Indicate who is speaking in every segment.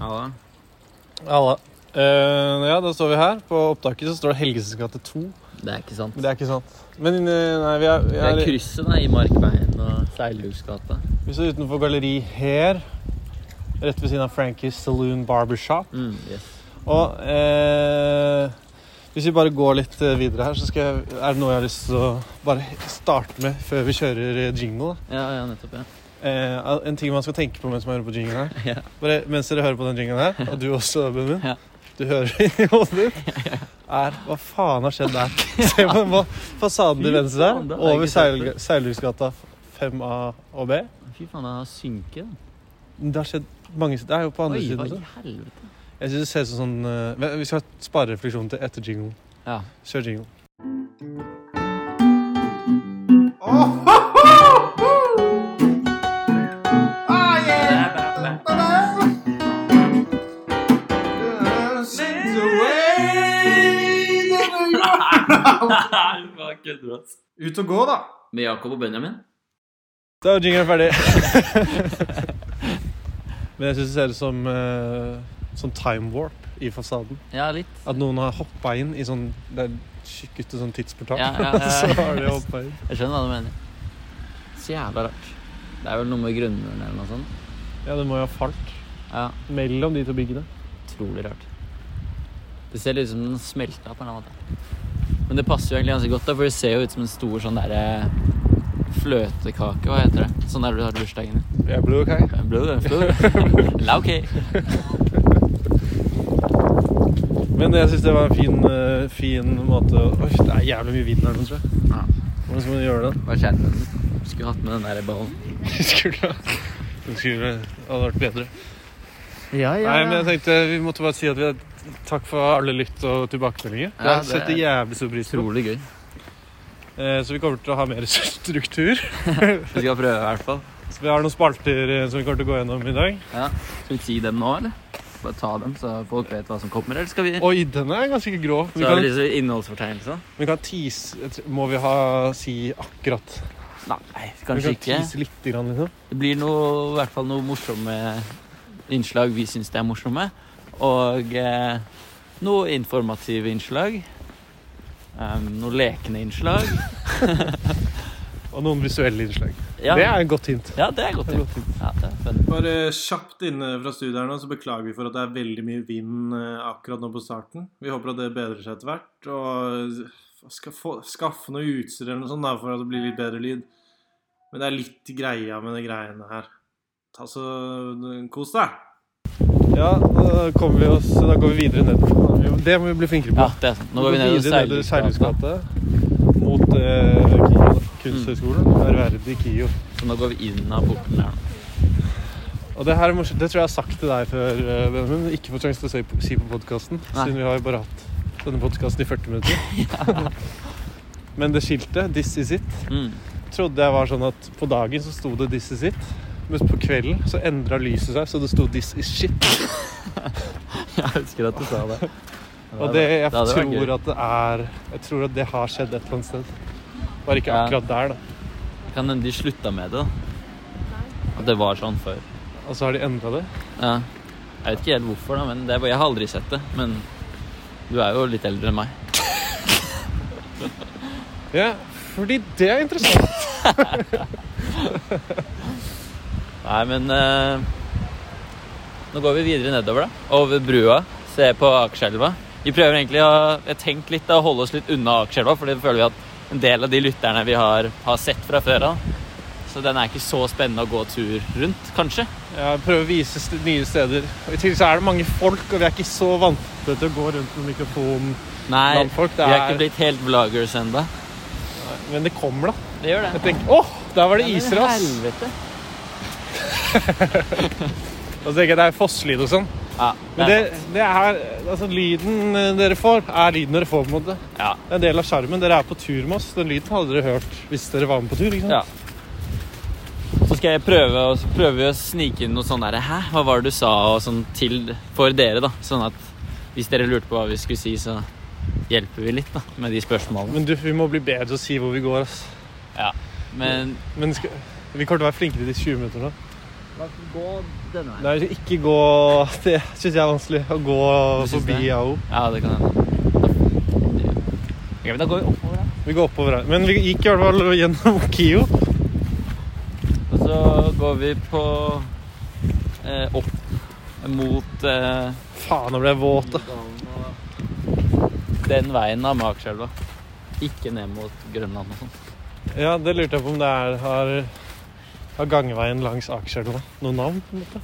Speaker 1: Ja da.
Speaker 2: Alle. Eh, ja, da står vi her. På opptaket så står det Helgesens gate 2.
Speaker 1: Det er ikke sant.
Speaker 2: Men det er ikke sant. Men eh, nei, vi er, vi
Speaker 1: Det er
Speaker 2: er,
Speaker 1: krysset da, i Markveien og Seilrugsgata.
Speaker 2: vi står utenfor galleri her. Rett ved siden av Frankies Saloon Barbershop.
Speaker 1: Mm, yes.
Speaker 2: Og eh, hvis vi bare går litt eh, videre her, så skal jeg, er det noe jeg har lyst til å bare starte med før vi kjører eh, jingle. da.
Speaker 1: Ja, ja, nettopp, ja.
Speaker 2: Eh, en ting man skal tenke på mens man hører på jinglen her.
Speaker 1: Ja.
Speaker 2: Bare mens dere hører på den jinglen her, og du også, Benjamin,
Speaker 1: Ja.
Speaker 2: du hører i hodet ditt, er hva faen har skjedd der? Se på den fasaden til
Speaker 1: Fy
Speaker 2: venstre
Speaker 1: faen, det
Speaker 2: der,
Speaker 1: har jeg
Speaker 2: over
Speaker 1: ikke sett før.
Speaker 2: Seil- Seilrugsgata 5A og B.
Speaker 1: Fy faen, det har synket. da.
Speaker 2: Det har skjedd mange Det er jo på andre
Speaker 1: Oi,
Speaker 2: siden
Speaker 1: hva i
Speaker 2: også.
Speaker 1: helvete?
Speaker 2: Jeg synes det ser ut som sånn eh, men Vi skal spare refleksjonen til etter jinglen.
Speaker 1: Ja.
Speaker 2: Kjør jingle.
Speaker 1: Hva kødder du, ass?
Speaker 3: Ut og gå, da.
Speaker 1: Med Jakob og Benjamin?
Speaker 2: Da er jingeren ferdig. Men jeg syns det ser ut som, eh, som time warp i fasaden.
Speaker 1: Ja, litt.
Speaker 2: At noen har hoppa inn i sånn Det er tjukkete sånn tidsportal.
Speaker 1: Ja, ja, ja.
Speaker 2: Så har de hoppa inn.
Speaker 1: Jeg skjønner hva du mener. Så jævla rart. Det er vel noe med grunnmuren eller noe sånt.
Speaker 2: Ja, det må jo ha falt
Speaker 1: Ja,
Speaker 2: mellom de to byggene.
Speaker 1: utrolig rart. Det ser litt ut som den smelta på en eller annen måte. Men det passer jo egentlig ganske godt, da, for det ser jo ut som en stor sånn derre fløtekake, hva heter det? Sånn der du har bursdagen din.
Speaker 2: Jeg er blue, okay?
Speaker 1: Blod, blod. Laukei.
Speaker 2: Men jeg syns det var en fin, eh, fin måte å Oi, det er jævlig mye vind her nå, tror jeg.
Speaker 1: Ja.
Speaker 2: Hvordan skal man gjøre det?
Speaker 1: Hva skjer med den? Skulle hatt med den der ballen.
Speaker 2: Skulle det skulle hadde vært bedre.
Speaker 1: Ja,
Speaker 2: Nei, men jeg tenkte vi måtte bare si at vi takk for alle lytt og tilbakemeldinger.
Speaker 1: Ja,
Speaker 2: det setter
Speaker 1: det
Speaker 2: jævlig stor pris på.
Speaker 1: Utrolig gøy.
Speaker 2: Eh, Så vi kommer til å ha mer struktur.
Speaker 1: Vi skal prøve i hvert fall.
Speaker 2: Så vi har noen spalter eh, som vi kommer til å gå gjennom i dag.
Speaker 1: Ja. Skal vi si dem nå, eller? Bare ta dem, så folk vet hva som kommer. Eller skal vi
Speaker 2: Oi, den er ganske grov. Vi
Speaker 1: Så er det
Speaker 2: kan,
Speaker 1: liksom innholdsfortegnelse?
Speaker 2: vi kan tease jeg tror- Må vi ha si akkurat?
Speaker 1: Nei, kanskje
Speaker 2: Vi kan
Speaker 1: ikke.
Speaker 2: tease litt, grann, liksom.
Speaker 1: Det blir noe, i hvert fall noe morsomme innslag vi syns er morsomme. Og eh, noe informative innslag. Ehm, noe lekende innslag.
Speaker 2: Og noen visuelle innslag.
Speaker 1: Ja,
Speaker 2: Det er et godt hint.
Speaker 1: ja, det er godt.
Speaker 2: Det er godt
Speaker 1: Ja. Ja, det er spennende.
Speaker 3: Bare kjapt inne fra studiet her nå, så beklager vi for at det er veldig mye vind eh, akkurat nå på starten. Vi håper at det bedrer seg etter hvert. Og skal få, skaffe noe utstyr eller noe sånt da, for at det blir litt bedre lyd. Men det er litt greia med de greiene her. Ta så Kos deg.
Speaker 2: Ja, da kommer vi oss Da går vi videre nedover. Det må vi bli flinkere på.
Speaker 1: Ja, det er sant. Nå går vi ned i
Speaker 2: videre nedover
Speaker 1: seilgata.
Speaker 2: Seilhusgata. Mot eh, KIO, Kunsthøgskolen.
Speaker 1: Mm.
Speaker 2: Ærverdig KIO.
Speaker 1: Så nå går vi inn av porten her nå.
Speaker 2: Og det her er morsomt. Det tror jeg jeg har sagt til deg før, eh, Benjamin. men Ikke fått sjanse til å si på- si på podkasten,
Speaker 1: Nei.
Speaker 2: siden vi har jo bare hatt denne podkasten i 40 minutter. men det skiltet, 'This is it',
Speaker 1: Mm.
Speaker 2: trodde jeg var sånn at på dagen så sto det 'This is it', mens på kvelden så endra lyset seg, så det sto 'This is shit'.
Speaker 1: Jeg husker at du sa det.
Speaker 2: Og det, jeg
Speaker 1: Det hadde vært
Speaker 2: tror
Speaker 1: gøy.
Speaker 2: at det er Jeg tror at det har skjedd et eller annet sted. Bare ikke
Speaker 1: Ja.
Speaker 2: akkurat der, da.
Speaker 1: Kan hende de slutta med det, da. At det var sånn før.
Speaker 2: Og så har de endra det.
Speaker 1: Ja. Jeg vet ikke helt hvorfor, da, men det er, jeg har aldri sett det. Men du er jo litt eldre enn meg.
Speaker 2: Ja, fordi det er interessant.
Speaker 1: Nei, men eh, Nå går vi videre nedover, da. Over brua. Se på Akerselva. Vi prøver egentlig å jeg har tenkt litt da, å holde oss litt unna Akerselva, for det føler vi at en del av de lytterne vi har, har sett fra før av. Så den er ikke så spennende å gå tur rundt, kanskje.
Speaker 2: Ja, prøve å vise st nye steder. Og I tillegg så er det mange folk, og vi er ikke så vant til å gå rundt med mikrofon.
Speaker 1: Nei,
Speaker 2: Blant folk, det
Speaker 1: vi er
Speaker 2: er-
Speaker 1: ikke blitt helt vloggers ennå.
Speaker 2: Men det kommer, da.
Speaker 1: Det gjør det.
Speaker 2: Jeg tenker, Åh, der var det isras!
Speaker 1: Helvete.
Speaker 2: Og så tenker jeg det er fosslyd og sånn.
Speaker 1: Ja,
Speaker 2: Men det, det er Altså, lyden eh, dere får, er lyden dere får, på en måte.
Speaker 1: ja,
Speaker 2: Det er en del av sjarmen. Dere er på tur med oss. Den lyden hadde dere hørt hvis dere var med på tur. ikke sant?
Speaker 1: ja. Så skal jeg prøve å, prøve å snike inn noe sånn der Hæ, hva var det du sa? Og sånn til for dere, da. Sånn at hvis dere lurte på hva vi skulle si, så hjelper vi litt da med de spørsmålene.
Speaker 2: Men du, vi må bli bedre til å si hvor vi går, ass.
Speaker 1: Men
Speaker 2: Men skal, vi kommer til å være flinkere de 20 minutter nå.
Speaker 1: La oss gå denne veien.
Speaker 2: Nei, ikke gå Det syns jeg er vanskelig. Å gå
Speaker 1: Du synes
Speaker 2: forbi
Speaker 1: det?
Speaker 2: AO.
Speaker 1: Ja, det kan hende. Ok, men da går vi oppover, da.
Speaker 2: Vi går oppover her. Men vi gikk i hvert fall gjennom Kio.
Speaker 1: Og så går vi på eh, opp mot eh,
Speaker 2: Faen, nå ble jeg våt. da.
Speaker 1: den veien av Akerselva. Ikke ned mot Grønland og sånn.
Speaker 2: Ja, det lurte jeg på om det er har, har gangveien langs Akerselva noe navn? på en måte?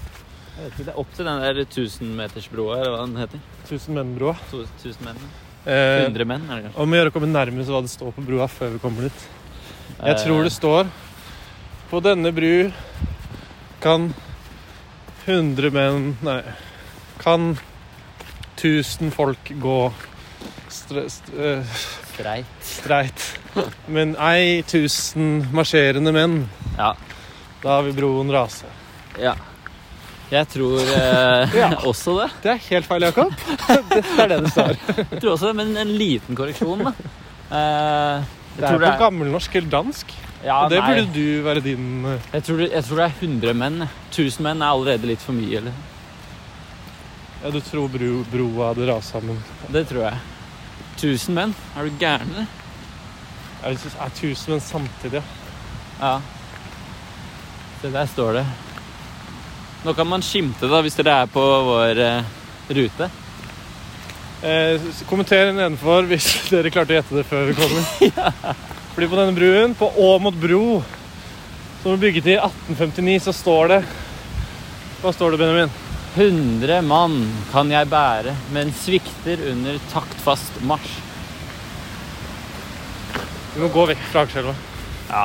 Speaker 1: Jeg vet ikke, Det er opp til den der 1000-metersbroa, eller hva den heter.
Speaker 2: Tusen menn-broa.
Speaker 1: To- 1000 menn.
Speaker 2: Eh,
Speaker 1: 100 menn, er det kanskje.
Speaker 2: om å gjøre å komme nærmest hva det står på brua før vi kommer dit. Jeg tror det står På denne bru kan 100 menn Nei. Kan 1000 folk gå stre, stre, eh,
Speaker 1: Eh, Streit.
Speaker 2: streit. Men ei 1000 marsjerende menn.
Speaker 1: Ja.
Speaker 2: Da vil broen rase.
Speaker 1: Ja. Jeg tror eh, også det.
Speaker 2: Det er helt feil, Jakob. Det er det det står.
Speaker 1: Jeg tror også det, Men en liten korreksjon, da. Eh, jeg
Speaker 2: Det er
Speaker 1: tror
Speaker 2: på gammelnorsk eller dansk.
Speaker 1: ja,
Speaker 2: og det
Speaker 1: nei.
Speaker 2: burde du være din eh,
Speaker 1: Jeg tror, det- jeg tror det er 100 menn. 1000 menn er allerede litt for mye. eller?
Speaker 2: Ja, du tror bro, broa hadde rast sammen.
Speaker 1: Det tror jeg. 1000 menn? Er du gæren, eller?
Speaker 2: Jeg synes, er tusen menn samtidig, ja.
Speaker 1: Ja. Se, der står det. Nå kan man skimte, da, hvis dere er på vår eh, rute.
Speaker 2: Eh, s- kommenter nedenfor hvis dere klarte å gjette det før vi kommer. Fordi på denne bruen, på Å mot bro, som ble bygget i 1859, så står det Hva står det, Benjamin?
Speaker 1: 100 mann kan jeg bære, men svikter under taktfast marsj.
Speaker 2: Vi må gå vekk fra Akerselva.
Speaker 1: Ja.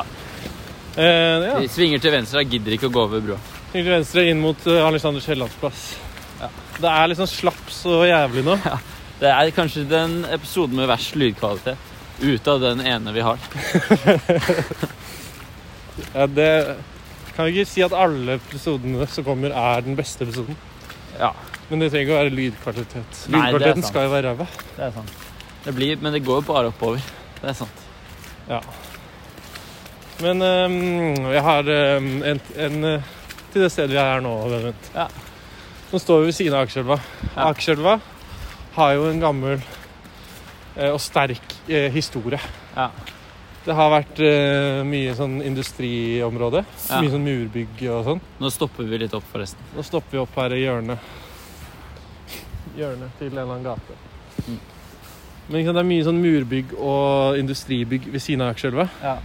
Speaker 2: Eh, ja.
Speaker 1: Vi svinger til venstre, jeg gidder ikke å gå over broa.
Speaker 2: Til venstre inn mot eh, Alexander Kiellands plass.
Speaker 1: Ja.
Speaker 2: Det er liksom slaps og jævlig nå.
Speaker 1: Det er kanskje den episoden med verst lydkvalitet. Ute av den ene vi har.
Speaker 2: Ja, det kan vi ikke si at alle episodene som kommer, er den beste episoden.
Speaker 1: Ja,
Speaker 2: Men det trenger ikke å være lydkvalitet.
Speaker 1: Nei, det er
Speaker 2: Lydkvaliteten
Speaker 1: sant.
Speaker 2: skal jo være ræva.
Speaker 1: det er sant. Det blir, men det går jo bare oppover. Det er sant.
Speaker 2: Men øhm, jeg har øhm, en, en øh, til det stedet vi er nå, Benvent.
Speaker 1: Ja.
Speaker 2: Nå står vi ved siden av Akerselva.
Speaker 1: Ja.
Speaker 2: Akerselva har jo en gammel eh, og sterk eh, historie.
Speaker 1: Ja.
Speaker 2: Det har vært eh, mye sånn industriområde.
Speaker 1: Ja.
Speaker 2: Mye sånn murbygg og sånn.
Speaker 1: Nå stopper vi litt opp, forresten.
Speaker 2: Nå stopper vi opp her i hjørnet. Hjørnet til en eller annen gate.
Speaker 1: Mm.
Speaker 2: Men ikke sant, det er mye sånn murbygg og industribygg ved siden av Akerselva.
Speaker 1: Ja.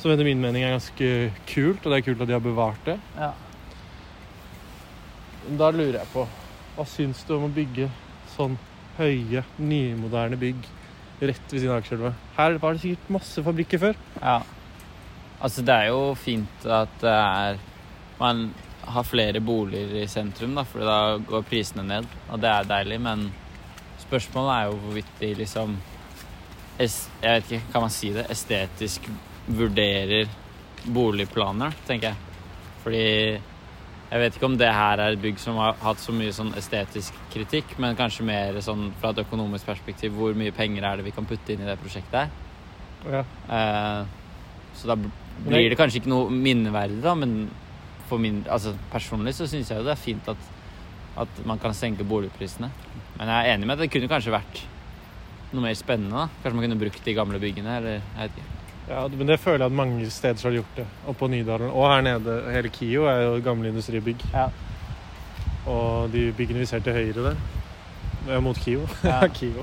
Speaker 2: Som etter min mening er ganske kult, og det er kult at de har bevart det.
Speaker 1: Ja.
Speaker 2: Men Da lurer jeg på Hva syns du om å bygge sånn høye, nymoderne bygg rett ved siden av Akerselva? Her var det sikkert masse fabrikker før.
Speaker 1: Ja. Altså, det er jo fint at det er Man har flere boliger i sentrum, da, for da går prisene ned. Og det er deilig, men spørsmålet er jo hvorvidt de liksom es- Jeg vet ikke, kan man si det? Estetisk vurderer boligplaner, tenker jeg. Fordi jeg vet ikke om det her er et bygg som har hatt så mye sånn estetisk kritikk, men kanskje mer sånn fra et økonomisk perspektiv, hvor mye penger er det vi kan putte inn i det prosjektet her? Eh, Så da bl-
Speaker 2: Nei.
Speaker 1: blir det kanskje ikke noe minneverdig, da, men for min, altså, personlig så syns jeg jo det er fint at, at man kan senke boligprisene. Men jeg er enig med at det kunne kanskje vært noe mer spennende. da. Kanskje man kunne brukt de gamle byggene, eller jeg vet ikke.
Speaker 2: Ja, men det føler jeg at mange steder så har de gjort det. Og på Nydalen og her nede. Hele Kio er jo gamle industribygg.
Speaker 1: Ja.
Speaker 2: Og de byggene vi ser til høyre der det er Mot Kio.
Speaker 1: Ja.
Speaker 2: Kio.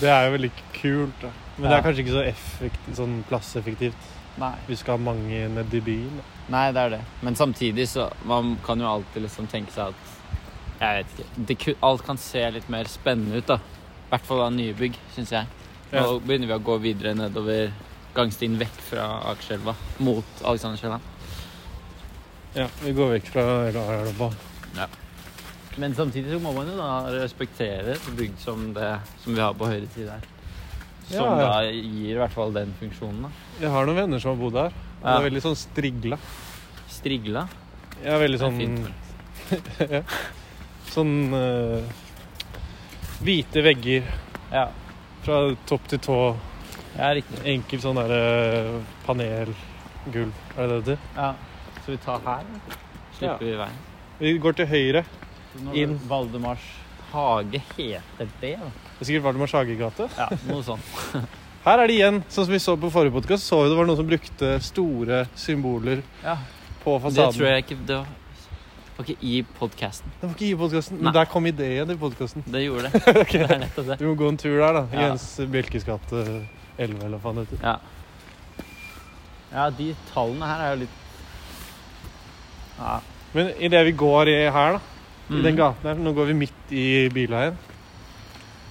Speaker 2: det er jo veldig kult, da. Men det
Speaker 1: Ja.
Speaker 2: er kanskje ikke så effektivt, sånn plasseffektivt.
Speaker 1: Nei.
Speaker 2: Vi skal ha mange ned i byen. da.
Speaker 1: Nei, det er det. Men samtidig så Man kan jo alltid liksom tenke seg at Jeg vet ikke. Det, ku- alt kan se litt mer spennende ut, da. I hvert fall av nybygg, syns jeg. Nå
Speaker 2: Ja.
Speaker 1: begynner vi å gå videre nedover gangstien vekk fra Akerselva mot Alexanderselva.
Speaker 2: Ja, vi går vekk fra elva.
Speaker 1: Men samtidig så må man jo da respektere et bygg som det som vi har på høyre side her. Som
Speaker 2: Ja, ja.
Speaker 1: da gir i hvert fall den funksjonen, da.
Speaker 2: Jeg har noen venner som har bodd her. og Det
Speaker 1: Ja.
Speaker 2: er veldig sånn strigla.
Speaker 1: Strigla.
Speaker 2: Jeg er veldig
Speaker 1: Det er
Speaker 2: sånn
Speaker 1: fint.
Speaker 2: Sånn eh, hvite vegger
Speaker 1: Ja.
Speaker 2: fra topp til tå.
Speaker 1: Ja, riktig.
Speaker 2: Enkel sånn derre eh, panel Gulv, er det det det heter?
Speaker 4: Ja. Så vi tar her?
Speaker 1: Slipper vi veien.
Speaker 2: Vi går til høyre.
Speaker 4: Nå-
Speaker 2: Inn.
Speaker 4: Valdemars
Speaker 1: Hage heter det, da.
Speaker 2: Det er sikkert Valdemars hagegate.
Speaker 1: Ja, noe sånt.
Speaker 2: Her er det igjen, sånn som vi så på forrige podkast, så vi det var noen som brukte store symboler
Speaker 4: Ja.
Speaker 2: på
Speaker 1: Det
Speaker 2: fasaden.
Speaker 1: tror jeg ikke Det var, det var ikke i podkasten.
Speaker 2: Det var ikke i podkasten,
Speaker 1: Nei.
Speaker 2: men der kom ideen til podkasten.
Speaker 1: Det gjorde det. Det er nettopp det.
Speaker 2: Du må gå en tur der, da.
Speaker 1: Ja.
Speaker 2: Jens Bjelkes gate 11, eller hva faen det heter.
Speaker 1: Ja.
Speaker 4: Ja, de tallene her er jo litt Ja.
Speaker 2: Men idet vi går i her, da, i
Speaker 1: Mm.
Speaker 2: den gaten her, nå går vi midt i bilveien,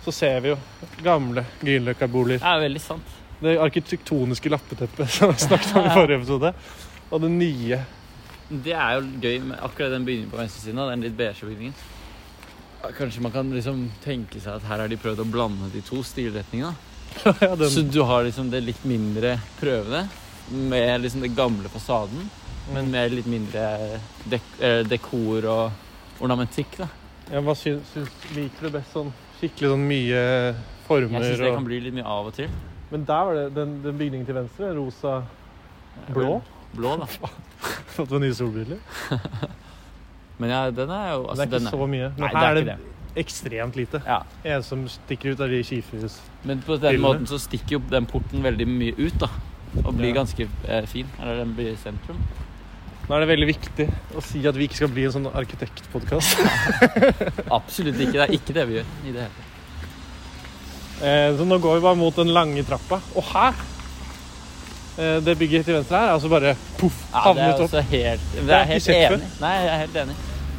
Speaker 2: så ser vi jo gamle Grünerløkka-boliger.
Speaker 1: Det er veldig sant.
Speaker 2: Det arkitektoniske lappeteppet som vi snakket om i forrige episode, og det nye.
Speaker 1: Det er jo gøy med akkurat den bygningen på venstresiden. da, Den litt beige bygningen. Ja, Kanskje man kan liksom tenke seg at her har de prøvd å blande de to stilretningene. da.
Speaker 2: Ja, den-
Speaker 1: Så du har liksom det litt mindre prøvende med liksom den gamle fasaden, men med litt mindre dek eh, dekor og ornamentikk. da.
Speaker 2: Ja, hva syns, syns, liker du best sånn skikkelig sånn mye former
Speaker 1: Jeg syns det
Speaker 2: og
Speaker 1: kan bli litt mye av og til.
Speaker 2: Men der var det den, den bygningen til venstre, rosa blå.
Speaker 1: Blå, da.
Speaker 2: Fått med nye solbriller.
Speaker 1: Men ja, den er jo
Speaker 2: det
Speaker 1: altså,
Speaker 2: er ikke
Speaker 1: den er.
Speaker 2: så mye. Men
Speaker 1: Nei, det
Speaker 2: her
Speaker 1: er
Speaker 2: er det
Speaker 1: ikke
Speaker 2: ekstremt lite.
Speaker 1: Ja.
Speaker 2: En som stikker ut, er de kifres.
Speaker 1: Men på den
Speaker 2: Hyllene.
Speaker 1: måten så stikker jo den porten veldig mye ut, da. Og blir
Speaker 2: Ja.
Speaker 1: ganske eh, fin. Eller den blir sentrum.
Speaker 2: Nå er det veldig viktig å si at vi ikke skal bli en sånn arkitektpodkast.
Speaker 1: Absolutt ikke. Det er ikke det vi gjør i det hele tatt.
Speaker 2: eh, så nå går vi bare mot den lange trappa. Og her eh, Det bygget til venstre her er altså bare poff,
Speaker 1: Ja, det
Speaker 2: havnet
Speaker 1: er altså-
Speaker 2: opp.
Speaker 1: også helt Det
Speaker 2: har
Speaker 1: er
Speaker 2: jeg
Speaker 1: helt
Speaker 2: ikke sett
Speaker 1: enig. Nei, jeg er helt enig.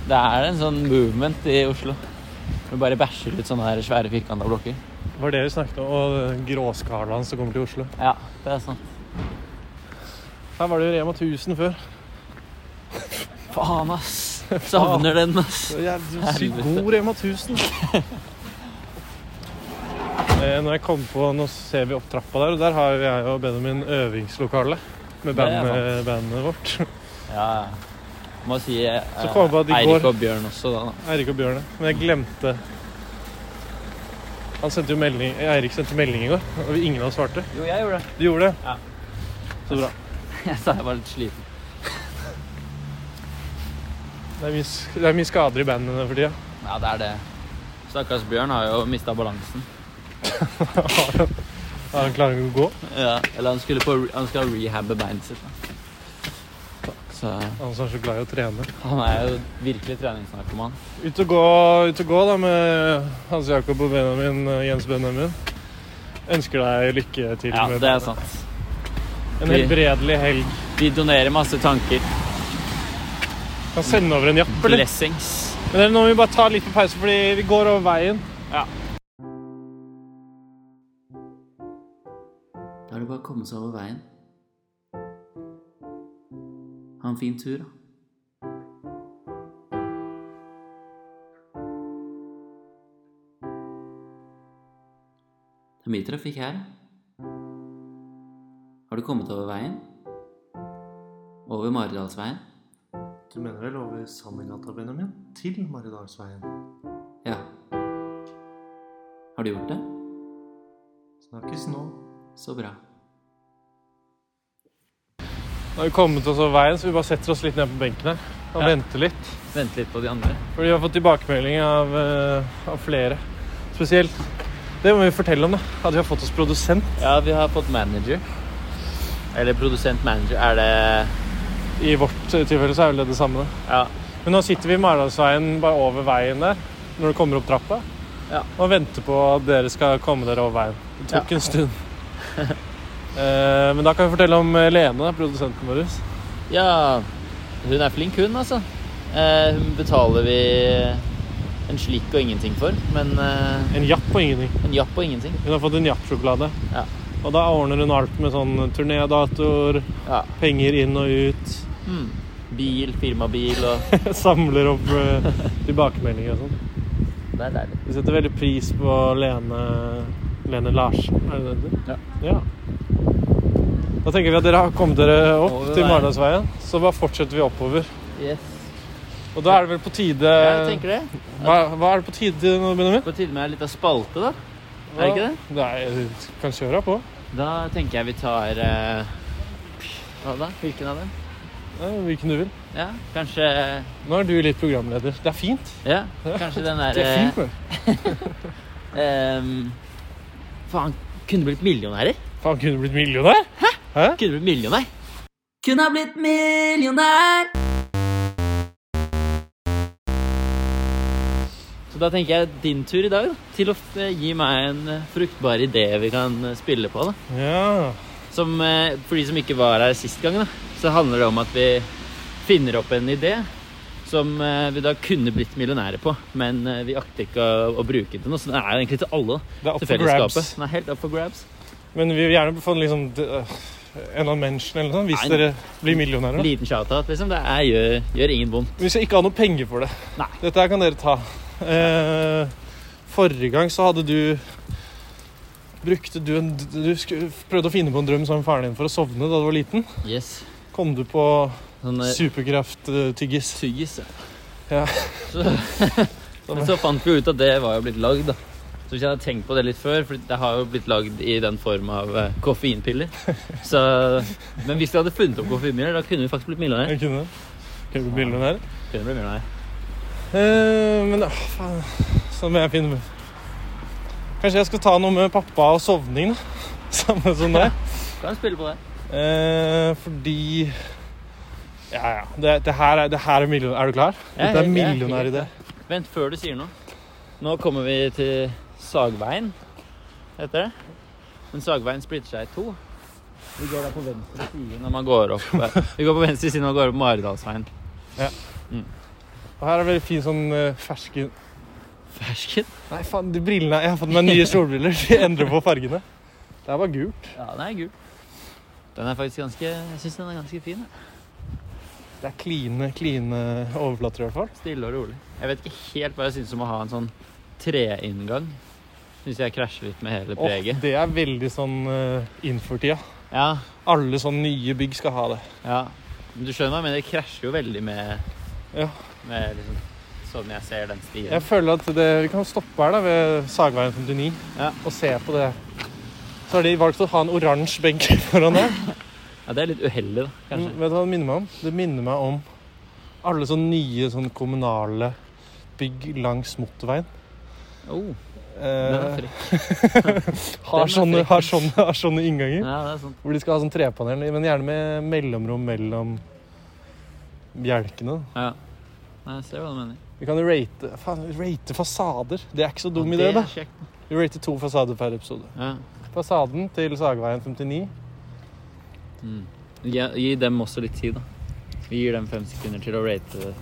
Speaker 1: Det er en sånn movement i Oslo. Vi bare bæsjer ut sånne der svære firkanta blokker.
Speaker 2: Det var det vi snakket om, og eh, gråskalaen som kommer til Oslo.
Speaker 1: Ja, det er sånn, sant.
Speaker 2: Her var det jo Rema 1000 før.
Speaker 1: Faen, ass. Savner den, ass.
Speaker 2: Jeg er sykt
Speaker 1: Helvete.
Speaker 2: god Rema 1000. Eh, Når jeg kom på, Nå ser vi opp trappa der, og der har jeg og Benjamin øvingslokale med
Speaker 1: Det er
Speaker 2: bandet, bandet vårt.
Speaker 1: Ja, ja. Må si eh,
Speaker 2: Så kom jeg på at i går-
Speaker 1: Eirik og Bjørn også, da. da.
Speaker 2: Eirik og Bjørn. ja. Men jeg glemte Han sendte jo melding eh, Eirik sendte melding i går, og vi- ingen av oss svarte.
Speaker 1: Jo, jeg gjorde det.
Speaker 2: Du gjorde det?
Speaker 1: Ja.
Speaker 2: Så bra.
Speaker 1: Jeg sa jeg var litt sliten.
Speaker 2: Det er mye, sk- det er mye skader i bandene for tida.
Speaker 1: Ja, det er det. Stakkars Bjørn har jo mista balansen.
Speaker 2: Ja, Han klarer ikke å gå.
Speaker 1: Ja, eller han skulle på re- Han skal rehabbe beinet sitt. Da. Så
Speaker 2: Han som er så glad i å trene.
Speaker 1: han er jo virkelig treningsnarkoman.
Speaker 2: Ut og gå, ut og gå da med Hans Jakob og Benjamin, eh, Jens Benjamin. Ønsker deg lykke til
Speaker 1: Ja,
Speaker 2: med
Speaker 1: det er sant.
Speaker 2: en helbredelig helg.
Speaker 1: Vi donerer masse tanker.
Speaker 2: Kan sende over en japp, eller?
Speaker 1: Blessings.
Speaker 2: Men dere, nå må vi bare ta litt på pause, fordi vi går over veien.
Speaker 1: Da er det bare å komme seg over veien. Ha en fin tur, da. Det er mye trafikk her. Har du kommet over veien? Over Maridalsveien?
Speaker 3: Du mener vel over Sandegata, Benjamin? Til Maridalsveien.
Speaker 1: Ja. Har du gjort det?
Speaker 3: Snakkes nå.
Speaker 1: Så bra.
Speaker 2: Nå har vi kommet oss over veien, så vi bare setter oss litt ned på benken her og
Speaker 1: Ja.
Speaker 2: venter litt.
Speaker 1: Vente litt på de andre.
Speaker 2: Fordi vi har fått tilbakemelding av, eh, av flere. Spesielt Det må vi fortelle om, da. At vi har fått oss produsent
Speaker 1: Ja, vi har fått manager. Eller produsent-manager. Er det
Speaker 2: i vårt eh, tilfelle, så er vel det det samme. da.
Speaker 1: Ja.
Speaker 2: Men nå sitter vi i Maridalsveien bare over veien der, når du kommer opp trappa.
Speaker 1: Ja.
Speaker 2: Og venter på at dere skal komme dere over veien. Det tok en stund. Eh, men da kan vi fortelle om eh, Lene, da, produsenten vår.
Speaker 1: Ja, hun er flink hun, altså. Eh, hun betaler vi en slikk og ingenting for, men eh,
Speaker 2: En japp og ingenting.
Speaker 1: en japp og ingenting.
Speaker 2: Hun har fått en japp-sjokolade.
Speaker 1: Ja.
Speaker 2: Og da ordner hun alt med sånn turnédatoer,
Speaker 1: Ja.
Speaker 2: penger inn og ut.
Speaker 1: Mm. Bil, firmabil og
Speaker 2: Samler opp eh, tilbakemeldinger og sånn.
Speaker 1: Det er deilig.
Speaker 2: Vi setter veldig pris på Lene, Lene Larsen, er det det det heter?
Speaker 1: Ja.
Speaker 2: Ja. Da tenker vi at dere har kommet dere opp
Speaker 1: Over
Speaker 2: til
Speaker 1: veien.
Speaker 2: Maridalsveien. Så bare fortsetter vi oppover.
Speaker 1: Yes.
Speaker 2: Og da er det vel på tide
Speaker 1: Jeg tenker det.
Speaker 2: hva, hva er det på tide til nå, Benjamin?
Speaker 1: På tide med en liten spalte, da. Er det ikke det?
Speaker 2: Nei, du kan kjøre på.
Speaker 1: Da tenker jeg vi tar eh, Hva da? Hvilken av dem?
Speaker 2: Ja, hvilken du vil.
Speaker 1: Ja, kanskje
Speaker 2: Nå er du litt programleder. Det er fint.
Speaker 1: Ja, kanskje den eh,
Speaker 2: Det er fint,
Speaker 1: derre
Speaker 2: det.
Speaker 1: Ehm, Faen, kunne blitt millionærer?
Speaker 2: Faen, kunne du blitt millionær?
Speaker 1: Kunne blitt millionær.
Speaker 5: Kunne ha blitt millionær.
Speaker 1: Så da tenker jeg din tur i dag, da. Til å eh, gi meg en eh, fruktbar idé vi kan eh, spille på, da.
Speaker 2: Ja.
Speaker 1: Som, eh, for de som ikke var her sist gang, da, så handler det om at vi finner opp en idé som eh, vi da kunne blitt millionære på, men eh, vi akter ikke å, å bruke den til noe. Så den er jo egentlig til alle. da.
Speaker 2: Det er opp
Speaker 1: Til
Speaker 2: for grabs.
Speaker 1: fellesskapet. Den er helt up for grabs.
Speaker 2: Men vi vil gjerne få en liksom d- øh, en av mention eller noe sånt, hvis
Speaker 1: Nei.
Speaker 2: dere blir millionærer. da.
Speaker 1: Liten shout-out, liksom. Det er, gjør, gjør ingen vondt.
Speaker 2: Vi skal ikke ha noe penger for det.
Speaker 1: Nei.
Speaker 2: Dette her kan dere ta. Eh, forrige gang så hadde du Brukte du en Du skulle, prøvde å finne på en drøm sammen med faren din for å sovne da du var liten.
Speaker 1: Yes.
Speaker 2: Kom du på øh,
Speaker 1: Sånn eh,
Speaker 2: superkrafttyggis?
Speaker 1: tyggis.
Speaker 2: Ja.
Speaker 1: Så, men så fant vi ut at det var jo blitt lagd, da. Så hvis jeg hadde tenkt på det litt før, for det har jo blitt lagd i den form av eh, koffeinpiller. Så, men hvis vi hadde funnet opp koffeinpiller, da kunne vi faktisk blitt millionærer.
Speaker 2: Jeg kunne Kunne du bli millionær?
Speaker 1: Kunne blitt millionærer.
Speaker 2: Eh, men ja, faen. Så må jeg finne Kanskje jeg skal ta noe med pappa og sovning, da. Samme som deg.
Speaker 1: Kan spille på det.
Speaker 2: Eh, fordi Ja, ja. Det, det, her er, det her er million... Er du klar?
Speaker 1: Jeg er
Speaker 2: Dette er
Speaker 1: helt- jeg er helt
Speaker 2: millionæridé.
Speaker 1: Vent, før du sier noe. Nå kommer vi til Sagveien, heter det. Men Sagveien splitter seg i to. Vi går da på venstre side når man går opp eh, Vi går på venstre side når man går opp Maridalsveien.
Speaker 2: Og her er veldig fin sånn eh, fersken
Speaker 1: Fersken?
Speaker 2: Nei, faen, de brillene Jeg har fått meg nye solbriller. De endrer på fargene. Det her var gult.
Speaker 1: Ja, den er gul. Den er faktisk ganske Jeg syns den er ganske fin. jeg.
Speaker 2: Det er kline, kline overflater, i hvert fall.
Speaker 1: Stille og rolig. Jeg vet ikke helt hva jeg syns om å ha en sånn treinngang. Syns jeg krasjer litt med hele
Speaker 2: Og
Speaker 1: preget.
Speaker 2: det er veldig sånn uh, innfortida.
Speaker 1: Ja,
Speaker 2: Alle sånne nye bygg skal ha det.
Speaker 1: Ja, men du skjønner hva jeg mener. Det krasjer jo veldig med,
Speaker 2: Ja.
Speaker 1: med liksom, sånn jeg ser den stilen.
Speaker 2: Jeg føler at det, vi kan stoppe her da, ved Sagveien 59
Speaker 1: Ja.
Speaker 2: og se på det. Så har de valgt å ha en oransje benk foran der.
Speaker 1: Ja, det er litt uheldig, da,
Speaker 2: Mm,
Speaker 1: kanskje.
Speaker 2: Vet du hva det minner meg om? Det minner meg om alle sånne nye sånne kommunale bygg langs motorveien.
Speaker 1: Oh, den er
Speaker 2: Eh,
Speaker 1: frekk. den er
Speaker 2: har, sånne,
Speaker 1: frekk.
Speaker 2: har, sånne, har sånne innganger.
Speaker 1: Ja, det er sant.
Speaker 2: Hvor de skal ha sånn trepanel, men gjerne med mellomrom mellom bjelkene. da.
Speaker 1: Ja. Nei, jeg ser hva du mener.
Speaker 2: Vi kan jo rate, faen, rate fasader. Det er ikke så dum
Speaker 1: Ja,
Speaker 2: idé,
Speaker 1: det er
Speaker 2: da.
Speaker 1: kjekt.
Speaker 2: Vi rater to fasader per episode.
Speaker 1: Ja.
Speaker 2: Fasaden til Sageveien 59.
Speaker 1: Gi, gi dem også litt tid, da. Vi gir dem fem sekunder til å rate det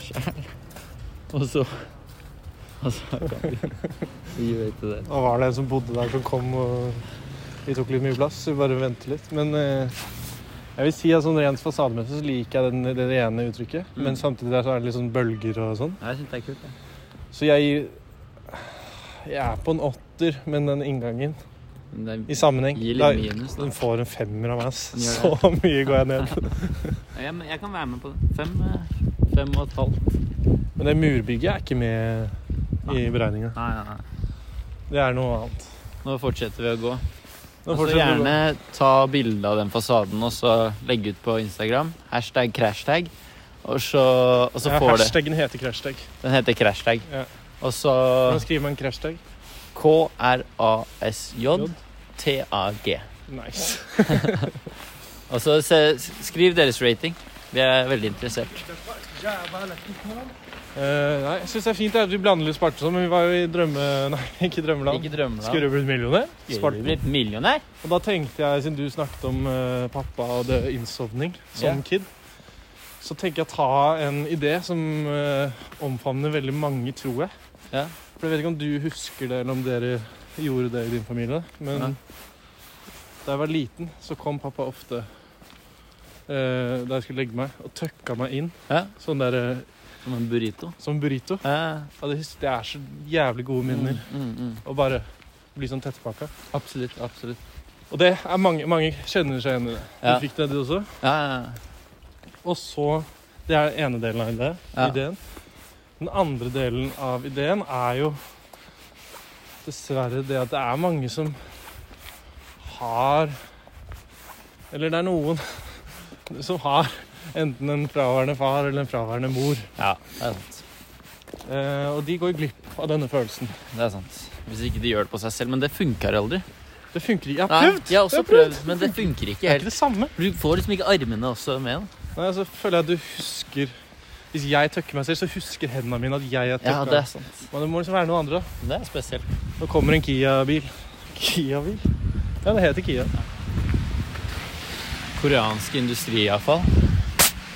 Speaker 1: sjæl. Og så Og så kan vi, vi rate det.
Speaker 2: Da var det en som bodde der, som kom og Vi tok litt mye plass, så vi bare ventet litt. Men eh, jeg vil si at sånn rent fasademessig så liker jeg den, det rene uttrykket.
Speaker 1: Mm.
Speaker 2: Men samtidig der så er det litt sånn bølger og sånn.
Speaker 1: Ja, jeg syns det er kult. jeg.
Speaker 2: Så jeg gir Jeg er på en åtter, men den inngangen
Speaker 1: Men
Speaker 2: i
Speaker 1: det er-
Speaker 2: sammenheng
Speaker 1: Gi
Speaker 2: da-
Speaker 1: litt minus, da.
Speaker 2: Den får en femmer av meg. ass.
Speaker 1: Den gjør
Speaker 2: Så mye går jeg ned.
Speaker 1: Ja, men jeg kan være med på det. Fem, eh, fem og et halvt.
Speaker 2: Men det murbygget er ikke med i beregninga.
Speaker 1: Nei, nei, nei.
Speaker 2: Det er noe annet.
Speaker 1: Nå fortsetter vi å gå.
Speaker 2: Nå
Speaker 1: Og så
Speaker 2: fortsetter
Speaker 1: Altså,
Speaker 2: vi å gå.
Speaker 1: gjerne ta bilde av den fasaden og så legge ut på Instagram. Hashtag crashtag. Og så, og så
Speaker 2: Ja,
Speaker 1: får det.
Speaker 2: hashtaggen heter crashtag.
Speaker 1: Den heter crashtag.
Speaker 2: Ja.
Speaker 1: Og så
Speaker 2: Hvordan skriver man crashtag?
Speaker 1: K-R-A-S-J-T-A-G.
Speaker 2: Nice.
Speaker 1: Og så Altså, se, skriv deres rating. Vi er veldig interessert.
Speaker 2: Eh, nei, jeg synes det er fint at vi blander litt Sparta sånn, men vi var jo i drømme... Nei, ikke drømmeland.
Speaker 1: Ikke drømme
Speaker 2: Skulle
Speaker 1: deg.
Speaker 2: du blitt millionær?
Speaker 1: Skulle du
Speaker 2: Sparta.
Speaker 1: blitt millionær?
Speaker 2: Og da tenkte jeg, siden du snakket om eh, pappa og det innsovning som
Speaker 1: Ja.
Speaker 2: kid, så tenker jeg å ta en idé som eh, omfavner veldig mange, tror jeg.
Speaker 1: Ja.
Speaker 2: For jeg vet ikke om du husker det, eller om dere gjorde det i din familie, men
Speaker 1: Nei.
Speaker 2: da jeg var liten, så kom pappa ofte eh, da jeg skulle legge meg, og tøkka meg inn,
Speaker 1: Ja.
Speaker 2: sånn der, eh,
Speaker 1: Som en burrito.
Speaker 2: som burrito.
Speaker 1: Ja.
Speaker 2: Ja, det, hus- det er så jævlig gode minner
Speaker 1: Eh, Mm, mm, mm.
Speaker 2: å bare bli sånn tettpakka.
Speaker 1: Absolutt. absolutt.
Speaker 2: Og det er mange, mange kjenner seg igjen i det.
Speaker 1: Ja.
Speaker 2: Du fikk det, du også.
Speaker 1: Ja, ja, ja.
Speaker 2: Og så Det er den ene delen av det,
Speaker 1: Ja.
Speaker 2: ideen. Den andre delen av ideen er jo dessverre det at det er mange som har Eller det er noen som har enten en fraværende far eller en fraværende mor.
Speaker 1: Ja, det er sant.
Speaker 2: Eh, og de går glipp av denne følelsen.
Speaker 1: Det er sant. Hvis ikke de gjør det på seg selv. Men det funker aldri.
Speaker 2: Det funker ikke. Jeg har
Speaker 1: Nei,
Speaker 2: prøvd!
Speaker 1: jeg har også
Speaker 2: har
Speaker 1: prøvd, men det funker
Speaker 2: Det
Speaker 1: ikke
Speaker 2: er ikke
Speaker 1: helt.
Speaker 2: det samme.
Speaker 1: Du får liksom ikke armene også med. da.
Speaker 2: Nei, så føler jeg at du husker Hvis jeg tøkker meg selv, så husker hendene mine at jeg er tøkka.
Speaker 1: Ja, det er sant.
Speaker 2: Men det må liksom være noe andre. da.
Speaker 1: Det er spesielt.
Speaker 2: Nå kommer en Kia-bil. Kia-bil? Ja, det heter Kia.
Speaker 1: Koreansk industriavfall.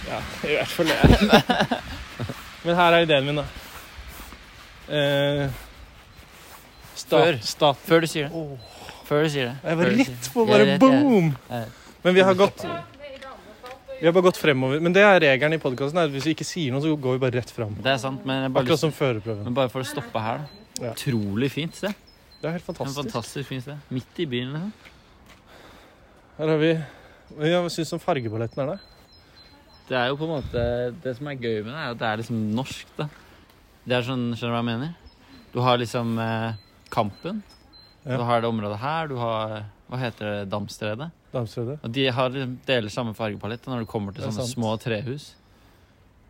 Speaker 2: Ja, i hvert fall det. Men her er ideen min, da. Eh, sta-
Speaker 1: Før.
Speaker 2: Stat.
Speaker 1: Før du sier det.
Speaker 2: Åh.
Speaker 1: Før du sier det.
Speaker 2: Jeg var
Speaker 1: Før du sier
Speaker 2: rett
Speaker 1: det.
Speaker 2: på,
Speaker 1: Jeg
Speaker 2: bare
Speaker 1: vet, jeg-
Speaker 2: boom!
Speaker 1: jeg vet.
Speaker 2: Men vi har gått Vi har bare gått fremover. Men det er regelen i podkasten. Hvis vi ikke sier noe, så går vi bare rett fram.
Speaker 1: Det er sant, men jeg bare,
Speaker 2: Akkurat
Speaker 1: lyst,
Speaker 2: som førerprøven.
Speaker 1: men bare for å stoppe her, da.
Speaker 2: Ja.
Speaker 1: Utrolig fint sted.
Speaker 2: Det er helt
Speaker 1: En
Speaker 2: fantastisk.
Speaker 1: fantastisk fint sted. Midt i byen. liksom.
Speaker 2: Her har vi ja, Hva syns du om fargeballetten her, da?
Speaker 1: Det er jo på en måte Det som er gøy med det, er at det er liksom norsk, da. Det er sånn, Skjønner du hva jeg mener? Du har liksom eh, Kampen.
Speaker 2: Ja.
Speaker 1: Du har det området her. Du har Hva heter det? Damstredet.
Speaker 2: Damstredet.
Speaker 1: Og de har, liksom- deler samme fargepalett da, når du kommer til
Speaker 2: Det er
Speaker 1: sånne
Speaker 2: sant.
Speaker 1: små trehus.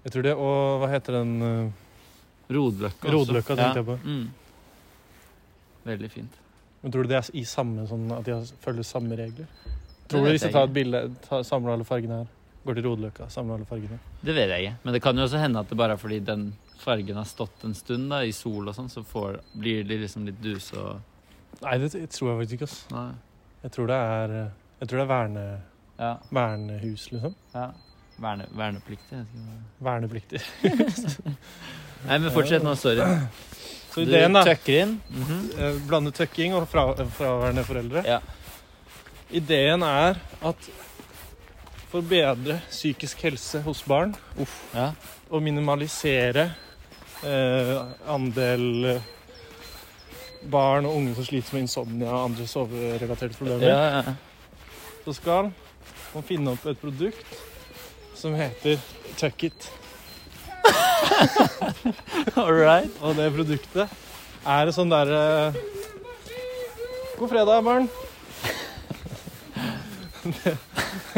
Speaker 2: Jeg tror det. Og hva heter den eh,
Speaker 1: Rodløkka.
Speaker 2: Rodløkka tenkte jeg på.
Speaker 1: Mm. Veldig fint.
Speaker 2: Men tror du det er i samme sånn at de har- følger samme regler? Tror
Speaker 1: vet
Speaker 2: du hvis
Speaker 1: jeg
Speaker 2: jeg tar
Speaker 1: ikke.
Speaker 2: et bilde, tar- samler alle fargene her, går til Rodeløkka, samler alle fargene
Speaker 1: Det vet jeg ikke. Men det kan jo også hende at det bare er fordi den fargen har stått en stund da, i sol og sånn, så får, blir de liksom litt duse og
Speaker 2: Nei, det t- tror jeg faktisk ikke, ass.
Speaker 1: Nei.
Speaker 2: Jeg tror det er eh, Jeg tror det er verne,
Speaker 1: Ja.
Speaker 2: vernehus, liksom.
Speaker 1: ja. Verne, vernepliktig. Jeg vet ikke hva-
Speaker 2: Vernepliktig.
Speaker 1: Nei, men fortsett nå. Sorry.
Speaker 2: Så ideen, da.
Speaker 1: Du tøkker inn.
Speaker 2: eh, Blande tøkking og fra, eh, fraværende foreldre.
Speaker 1: Ja.
Speaker 2: Ideen er at for å bedre psykisk helse hos barn
Speaker 1: Ja.
Speaker 2: og minimalisere eh, andel eh, barn og unge som sliter med insomnia og andre soverelaterte
Speaker 1: Ja,
Speaker 2: problemer,
Speaker 1: ja, ja.
Speaker 2: så skal man finne opp et produkt som heter Tuck It.
Speaker 1: All right.
Speaker 2: Og det produktet er en sånn derre God fredag, barn. det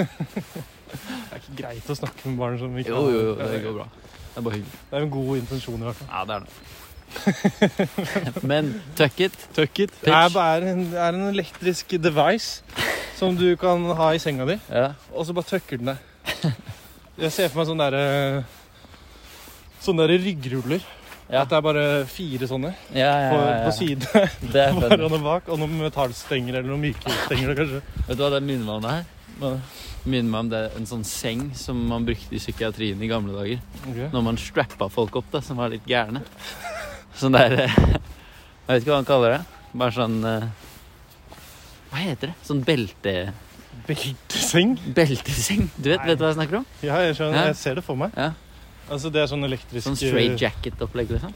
Speaker 2: er ikke greit å snakke med barn som ikke
Speaker 1: Jo, jo, jo. Det går bra. Det er bare hyggelig.
Speaker 2: Det er en god intensjon, i hvert fall.
Speaker 1: Ja, det er det. Men tuck it.
Speaker 2: Tuck it
Speaker 1: Pitch.
Speaker 2: er, bare en, er en elektrisk device som du kan ha i senga di,
Speaker 1: Ja.
Speaker 2: og så bare tucker den deg. Jeg ser for meg sånn sånne derre Sånne derre sånn ryggruller.
Speaker 1: Ja.
Speaker 2: At det er bare fire sånne
Speaker 1: Ja, ja,
Speaker 2: på,
Speaker 1: ja,
Speaker 2: på
Speaker 1: ja.
Speaker 2: sidene.
Speaker 1: Det er
Speaker 2: Foran
Speaker 1: funny.
Speaker 2: og bak. Og noen metallstenger eller noen myke stenger, kanskje.
Speaker 1: Vet du hva det minner meg om det her?
Speaker 2: Men,
Speaker 1: Minner meg om det en sånn seng som man brukte i psykiatrien i gamle dager.
Speaker 2: ok.
Speaker 1: Når man strappa folk opp, da, som var litt gærne. Sånn der eh, Jeg vet ikke hva han kaller det. Bare sånn eh, Hva heter det? Sånn belte...
Speaker 2: Belteseng?
Speaker 1: Belteseng. Du vet, vet du hva jeg snakker om?
Speaker 2: Ja, jeg
Speaker 1: Ja.
Speaker 2: skjønner. Jeg ser det for meg.
Speaker 1: Ja.
Speaker 2: Altså, det er sånn elektrisk
Speaker 1: Sånn straight jacket-opplegg, liksom.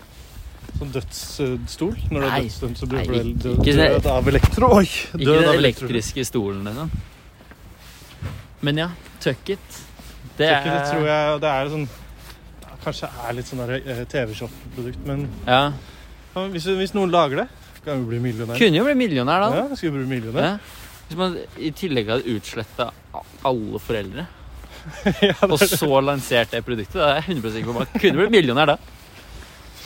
Speaker 2: sånn dødsstol. Når du er
Speaker 1: Nei.
Speaker 2: dødsdømt,
Speaker 1: Nei,
Speaker 2: så blir du vel
Speaker 1: ikke-
Speaker 2: død,
Speaker 1: ikke det.
Speaker 2: død av elektro... Oi!
Speaker 1: Ikke
Speaker 2: Død
Speaker 1: den
Speaker 2: av elektro.
Speaker 1: elektriske stolen, liksom. Men ja, tuck it. Det
Speaker 2: Ikke Det tror jeg det er sånn ja, Kanskje er litt sånn der, eh, TV-shop-produkt, men
Speaker 1: Ja.
Speaker 2: ja, hvis, hvis noen lager det, kan vi bli millionær.
Speaker 1: Kunne jo bli millionær, da.
Speaker 2: Ja, skal vi bli millionær?
Speaker 1: Ja. Hvis man i tillegg hadde utsletta alle foreldre,
Speaker 2: Ja,
Speaker 1: og så lansert det produktet, da er jeg 100 sikker på at man kunne blitt millionær da.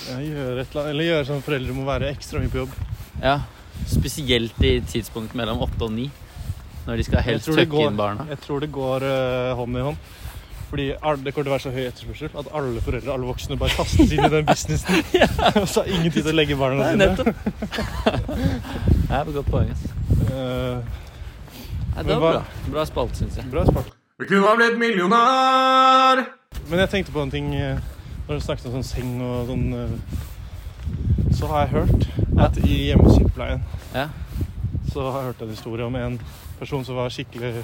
Speaker 2: Ja, gjøre et eller annet. Eller gjøre sånn at foreldre må være ekstra mye på jobb.
Speaker 1: Ja. Spesielt i tidspunktet mellom åtte og ni, når de skal
Speaker 2: Jeg
Speaker 1: helst
Speaker 2: tror det
Speaker 1: tøkke
Speaker 2: går-
Speaker 1: inn barna.
Speaker 2: Jeg tror det går eh, hånd i hånd. Fordi alle, det kommer til å være så høy etterspørsel at alle foreldre alle voksne bare kastes inn i den businessen. Og så har ingen tid til å legge
Speaker 1: Nei,
Speaker 2: barna sine.
Speaker 1: nettopp. Det er et godt poeng. ass.
Speaker 2: Eh,
Speaker 1: Nei,
Speaker 2: Men
Speaker 1: det var
Speaker 2: hva-
Speaker 1: bra. Bra spalte, syns jeg.
Speaker 2: bra spart.
Speaker 3: Vi kunne ha blitt millionær!
Speaker 2: Men jeg tenkte på en ting eh, når du snakket om sånn seng og sånn eh, Så har jeg hørt at i hjemmesykepleien
Speaker 1: Ja.
Speaker 2: så har jeg hørt en historie om en person som var skikkelig eh,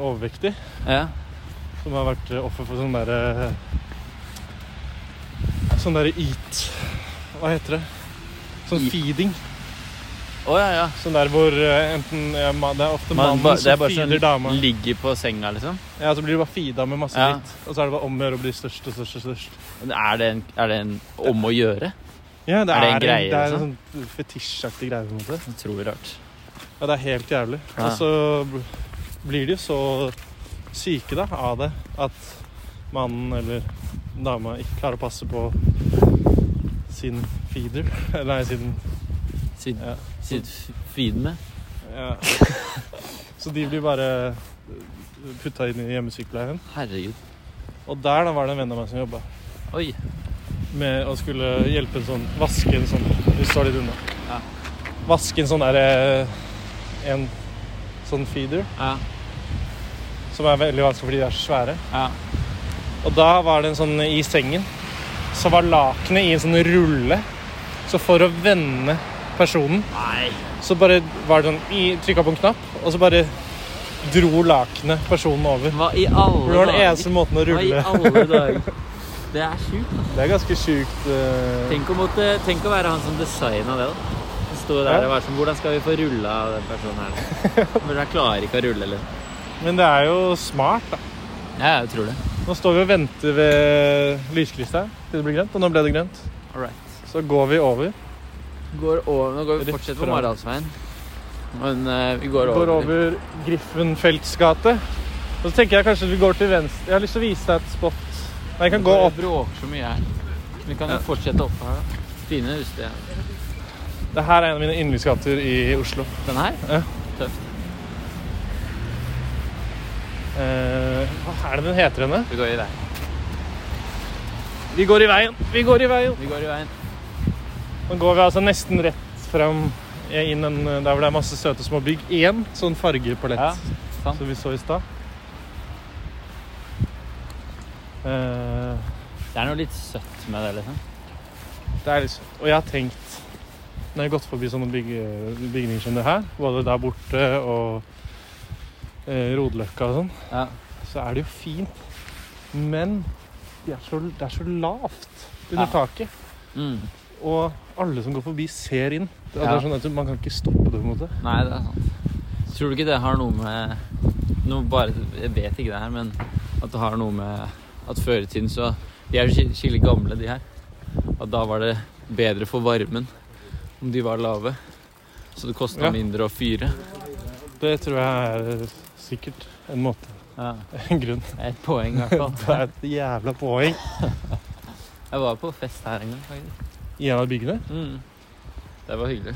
Speaker 2: overvektig.
Speaker 1: Ja.
Speaker 2: Som har vært offer for sånn derre Sånn derre eat Hva heter det? Sånn
Speaker 1: Eat.
Speaker 2: feeding.
Speaker 1: Å ja, ja.
Speaker 2: Sånn der hvor eh, enten ja, ma- Det er ofte
Speaker 1: Man,
Speaker 2: mannen
Speaker 1: ba, det er
Speaker 2: som
Speaker 1: bare
Speaker 2: feeder dama.
Speaker 1: sånn ligger på senga, liksom.
Speaker 2: Ja, så blir du bare feeda med masse
Speaker 1: Ja.
Speaker 2: dritt. Og så er det bare om å gjøre å bli størst og størst og størst.
Speaker 1: Men Er det en, er det en om å gjøre?
Speaker 2: Ja, det
Speaker 1: Er
Speaker 2: er,
Speaker 1: det en greie, liksom?
Speaker 2: det er en sånn fetisjaktig greie, på en måte.
Speaker 1: Jeg tror det er rart.
Speaker 2: Ja, det er helt jævlig.
Speaker 1: Ja.
Speaker 2: Og så bl- blir det jo så syke da, av det. At mannen eller dama ikke klarer å passe på sin feeder. Eller nei, sin
Speaker 1: Sitt,
Speaker 2: ja.
Speaker 1: sitt feeden med.
Speaker 2: ja. Så de blir bare putta inn i hjemmesykepleien.
Speaker 1: Herregud.
Speaker 2: Og der da var det en venn av meg som jobba.
Speaker 1: Oi.
Speaker 2: med å skulle hjelpe en sånn Vaske en sånn Vi står litt unna.
Speaker 1: Ja.
Speaker 2: Vaske en sånn derre En sånn feeder,
Speaker 1: Ja.
Speaker 2: som er veldig vanskelig fordi de er så svære.
Speaker 1: Ja.
Speaker 2: Og da var det en sånn i sengen. Så var lakenet i en sånn rulle. Så for å vende personen,
Speaker 1: Nei.
Speaker 2: så bare var det sånn Trykka på en knapp, og så bare dro lakenet personen over.
Speaker 1: Hva i alle
Speaker 2: Det var den eneste måten å
Speaker 1: Hva i
Speaker 2: rulle
Speaker 1: alle dager? Det er sjukt. da.
Speaker 2: Det er ganske sjukt. eh.
Speaker 1: Tenk å, måtte, tenk å være han som designa det. da. Stå der
Speaker 2: Ja.
Speaker 1: og være sånn Hvordan skal vi få rulla den personen her? Men jeg klarer ikke å rulle, eller?
Speaker 2: Men det er jo smart, da.
Speaker 1: Ja, jeg tror det.
Speaker 2: Nå står vi og venter ved lyskrysset her til det blir grønt, og nå ble det grønt.
Speaker 1: All right.
Speaker 2: Så går vi over.
Speaker 1: Går over, nå går vi
Speaker 2: Rett
Speaker 1: fortsatt på
Speaker 2: fram.
Speaker 1: Maradalsveien. Men eh, vi går
Speaker 2: Går
Speaker 1: over.
Speaker 2: over, Griffenfelds gate. Og så tenker jeg kanskje vi går til venstre. Jeg har lyst til å vise deg et spot. Nei, jeg kan gå
Speaker 1: Det
Speaker 2: opp.
Speaker 1: bråker så mye her. Vi kan jo fortsette oppe her, da. Fine hussteder.
Speaker 2: Det her er en av mine yndlingsgater i Oslo.
Speaker 1: Den her?
Speaker 2: Eh, hva er det den heter henne?
Speaker 1: Vi går i veien.
Speaker 2: Vi går i veien. Vi går i veien.
Speaker 1: Vi går i veien.
Speaker 2: Nå går vi altså nesten rett fram inn en, der hvor det er masse søte små bygg. Igjen sånn fargepalett.
Speaker 1: Ja, sant.
Speaker 2: Som vi så i stad. Eh,
Speaker 1: Det er noe litt søtt med det, liksom.
Speaker 2: Det er litt søtt. Og jeg har tenkt Når jeg har gått forbi sånne bygge- bygninger som det her, både der borte og eh, Rodeløkka og sånn,
Speaker 1: Ja.
Speaker 2: så er det jo fint. Men de er så, det er så lavt under
Speaker 1: Ja.
Speaker 2: taket.
Speaker 1: Mm.
Speaker 2: Og alle som går forbi, ser inn. Det det
Speaker 1: Ja.
Speaker 2: er sånn at Man kan ikke stoppe det. på en måte.
Speaker 1: Nei, det er sant. Tror du ikke det har noe med noe bare, Jeg vet ikke det her, men at det har noe med at før i tiden så De er jo skil- skikkelig gamle, de her. At da var det bedre for varmen om de var lave. Så det kosta
Speaker 2: Ja.
Speaker 1: mindre å fyre.
Speaker 2: Det tror jeg er sikkert en måte.
Speaker 1: Ja.
Speaker 2: En grunn.
Speaker 1: Et poeng, i hvert
Speaker 2: Det
Speaker 1: fall.
Speaker 2: er et jævla poeng
Speaker 1: Jeg var på fest her en gang, faktisk.
Speaker 2: i en av byggene.
Speaker 1: Mm. Det var hyggelig.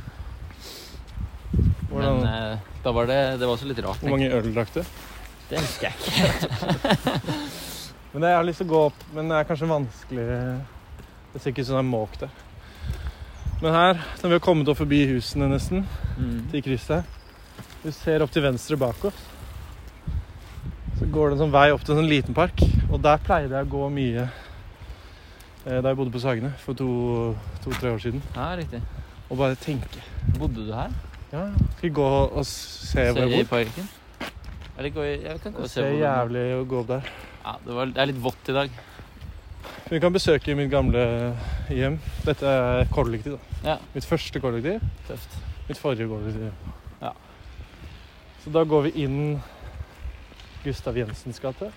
Speaker 2: Hvordan,
Speaker 1: Men eh, da var det Det var også litt rart.
Speaker 2: hvor mange øl drakk du?
Speaker 1: tenkte jeg. Det husker jeg ikke.
Speaker 2: Men det, jeg har lyst til å gå opp, men det er kanskje vanskelig Det ser ikke ut som det er måk der. Men her, når vi har kommet opp forbi husene nesten,
Speaker 1: Mm.
Speaker 2: til krysset Vi ser opp til venstre bak oss. Så går det en sånn vei opp til en sånn liten park, og der pleide jeg å gå mye eh, da jeg bodde på Sagene for to-tre år siden,
Speaker 1: Ja, riktig.
Speaker 2: og bare tenke.
Speaker 1: Bodde du her?
Speaker 2: Ja, skal vi gå og s- se
Speaker 1: Ser
Speaker 2: hvor
Speaker 1: i
Speaker 2: jeg bor?
Speaker 1: parken? Eller gå i Jeg kan gå og
Speaker 2: Det
Speaker 1: se
Speaker 2: ser
Speaker 1: hvor den-
Speaker 2: jævlig å gå opp der.
Speaker 1: Ja, det, var, det er litt vått i dag.
Speaker 2: Vi kan besøke mitt gamle hjem. Dette er kollektiv, da.
Speaker 1: Ja.
Speaker 2: Mitt første kollektiv.
Speaker 1: Tøft.
Speaker 2: Mitt forrige går vi til.
Speaker 1: Ja.
Speaker 2: Så da går vi inn Gustav Jensens gate.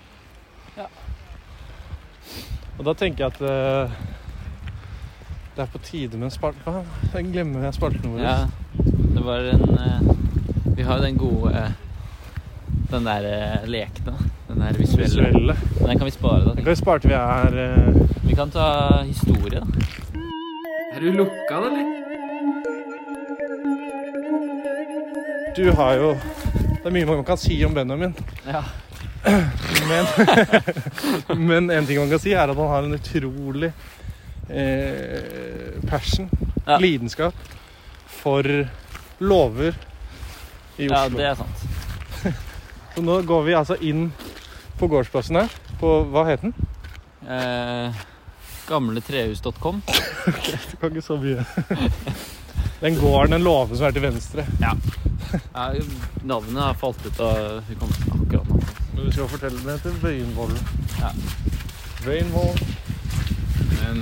Speaker 1: Ja.
Speaker 2: Og da tenker jeg at eh, det er på tide med en spalte. Hva? Jeg glemmer jeg spalten vår.
Speaker 1: Ja, det var en eh, Vi har jo den gode eh, Den der eh, lekne. Den der visuelle.
Speaker 2: Visuelle.
Speaker 1: Men Den kan vi spare, da. tenker
Speaker 2: Det kan vi spare til vi er eh,
Speaker 1: jeg. Vi kan ta historie, da.
Speaker 5: Er du lukka, eller?
Speaker 2: Du har jo Det er mye man kan si om Benjamin.
Speaker 1: Ja.
Speaker 2: Men, men en ting man kan si, er at han har en utrolig eh, passion,
Speaker 1: Ja.
Speaker 2: lidenskap, for lover i
Speaker 1: Ja,
Speaker 2: Oslo.
Speaker 1: det er sant.
Speaker 2: Så nå går vi altså inn på gårdsplassen her. På hva het den?
Speaker 1: Eh, Gamletrehus.com.
Speaker 2: Du kan ikke så mye. Den gården, den låven som er til venstre.
Speaker 1: Ja, navnet har falt ut av hukommelsen akkurat nå.
Speaker 2: Men du skal fortelle den heter Vøyenvollen.
Speaker 1: Ja.
Speaker 2: Vøyenvollen.
Speaker 1: Men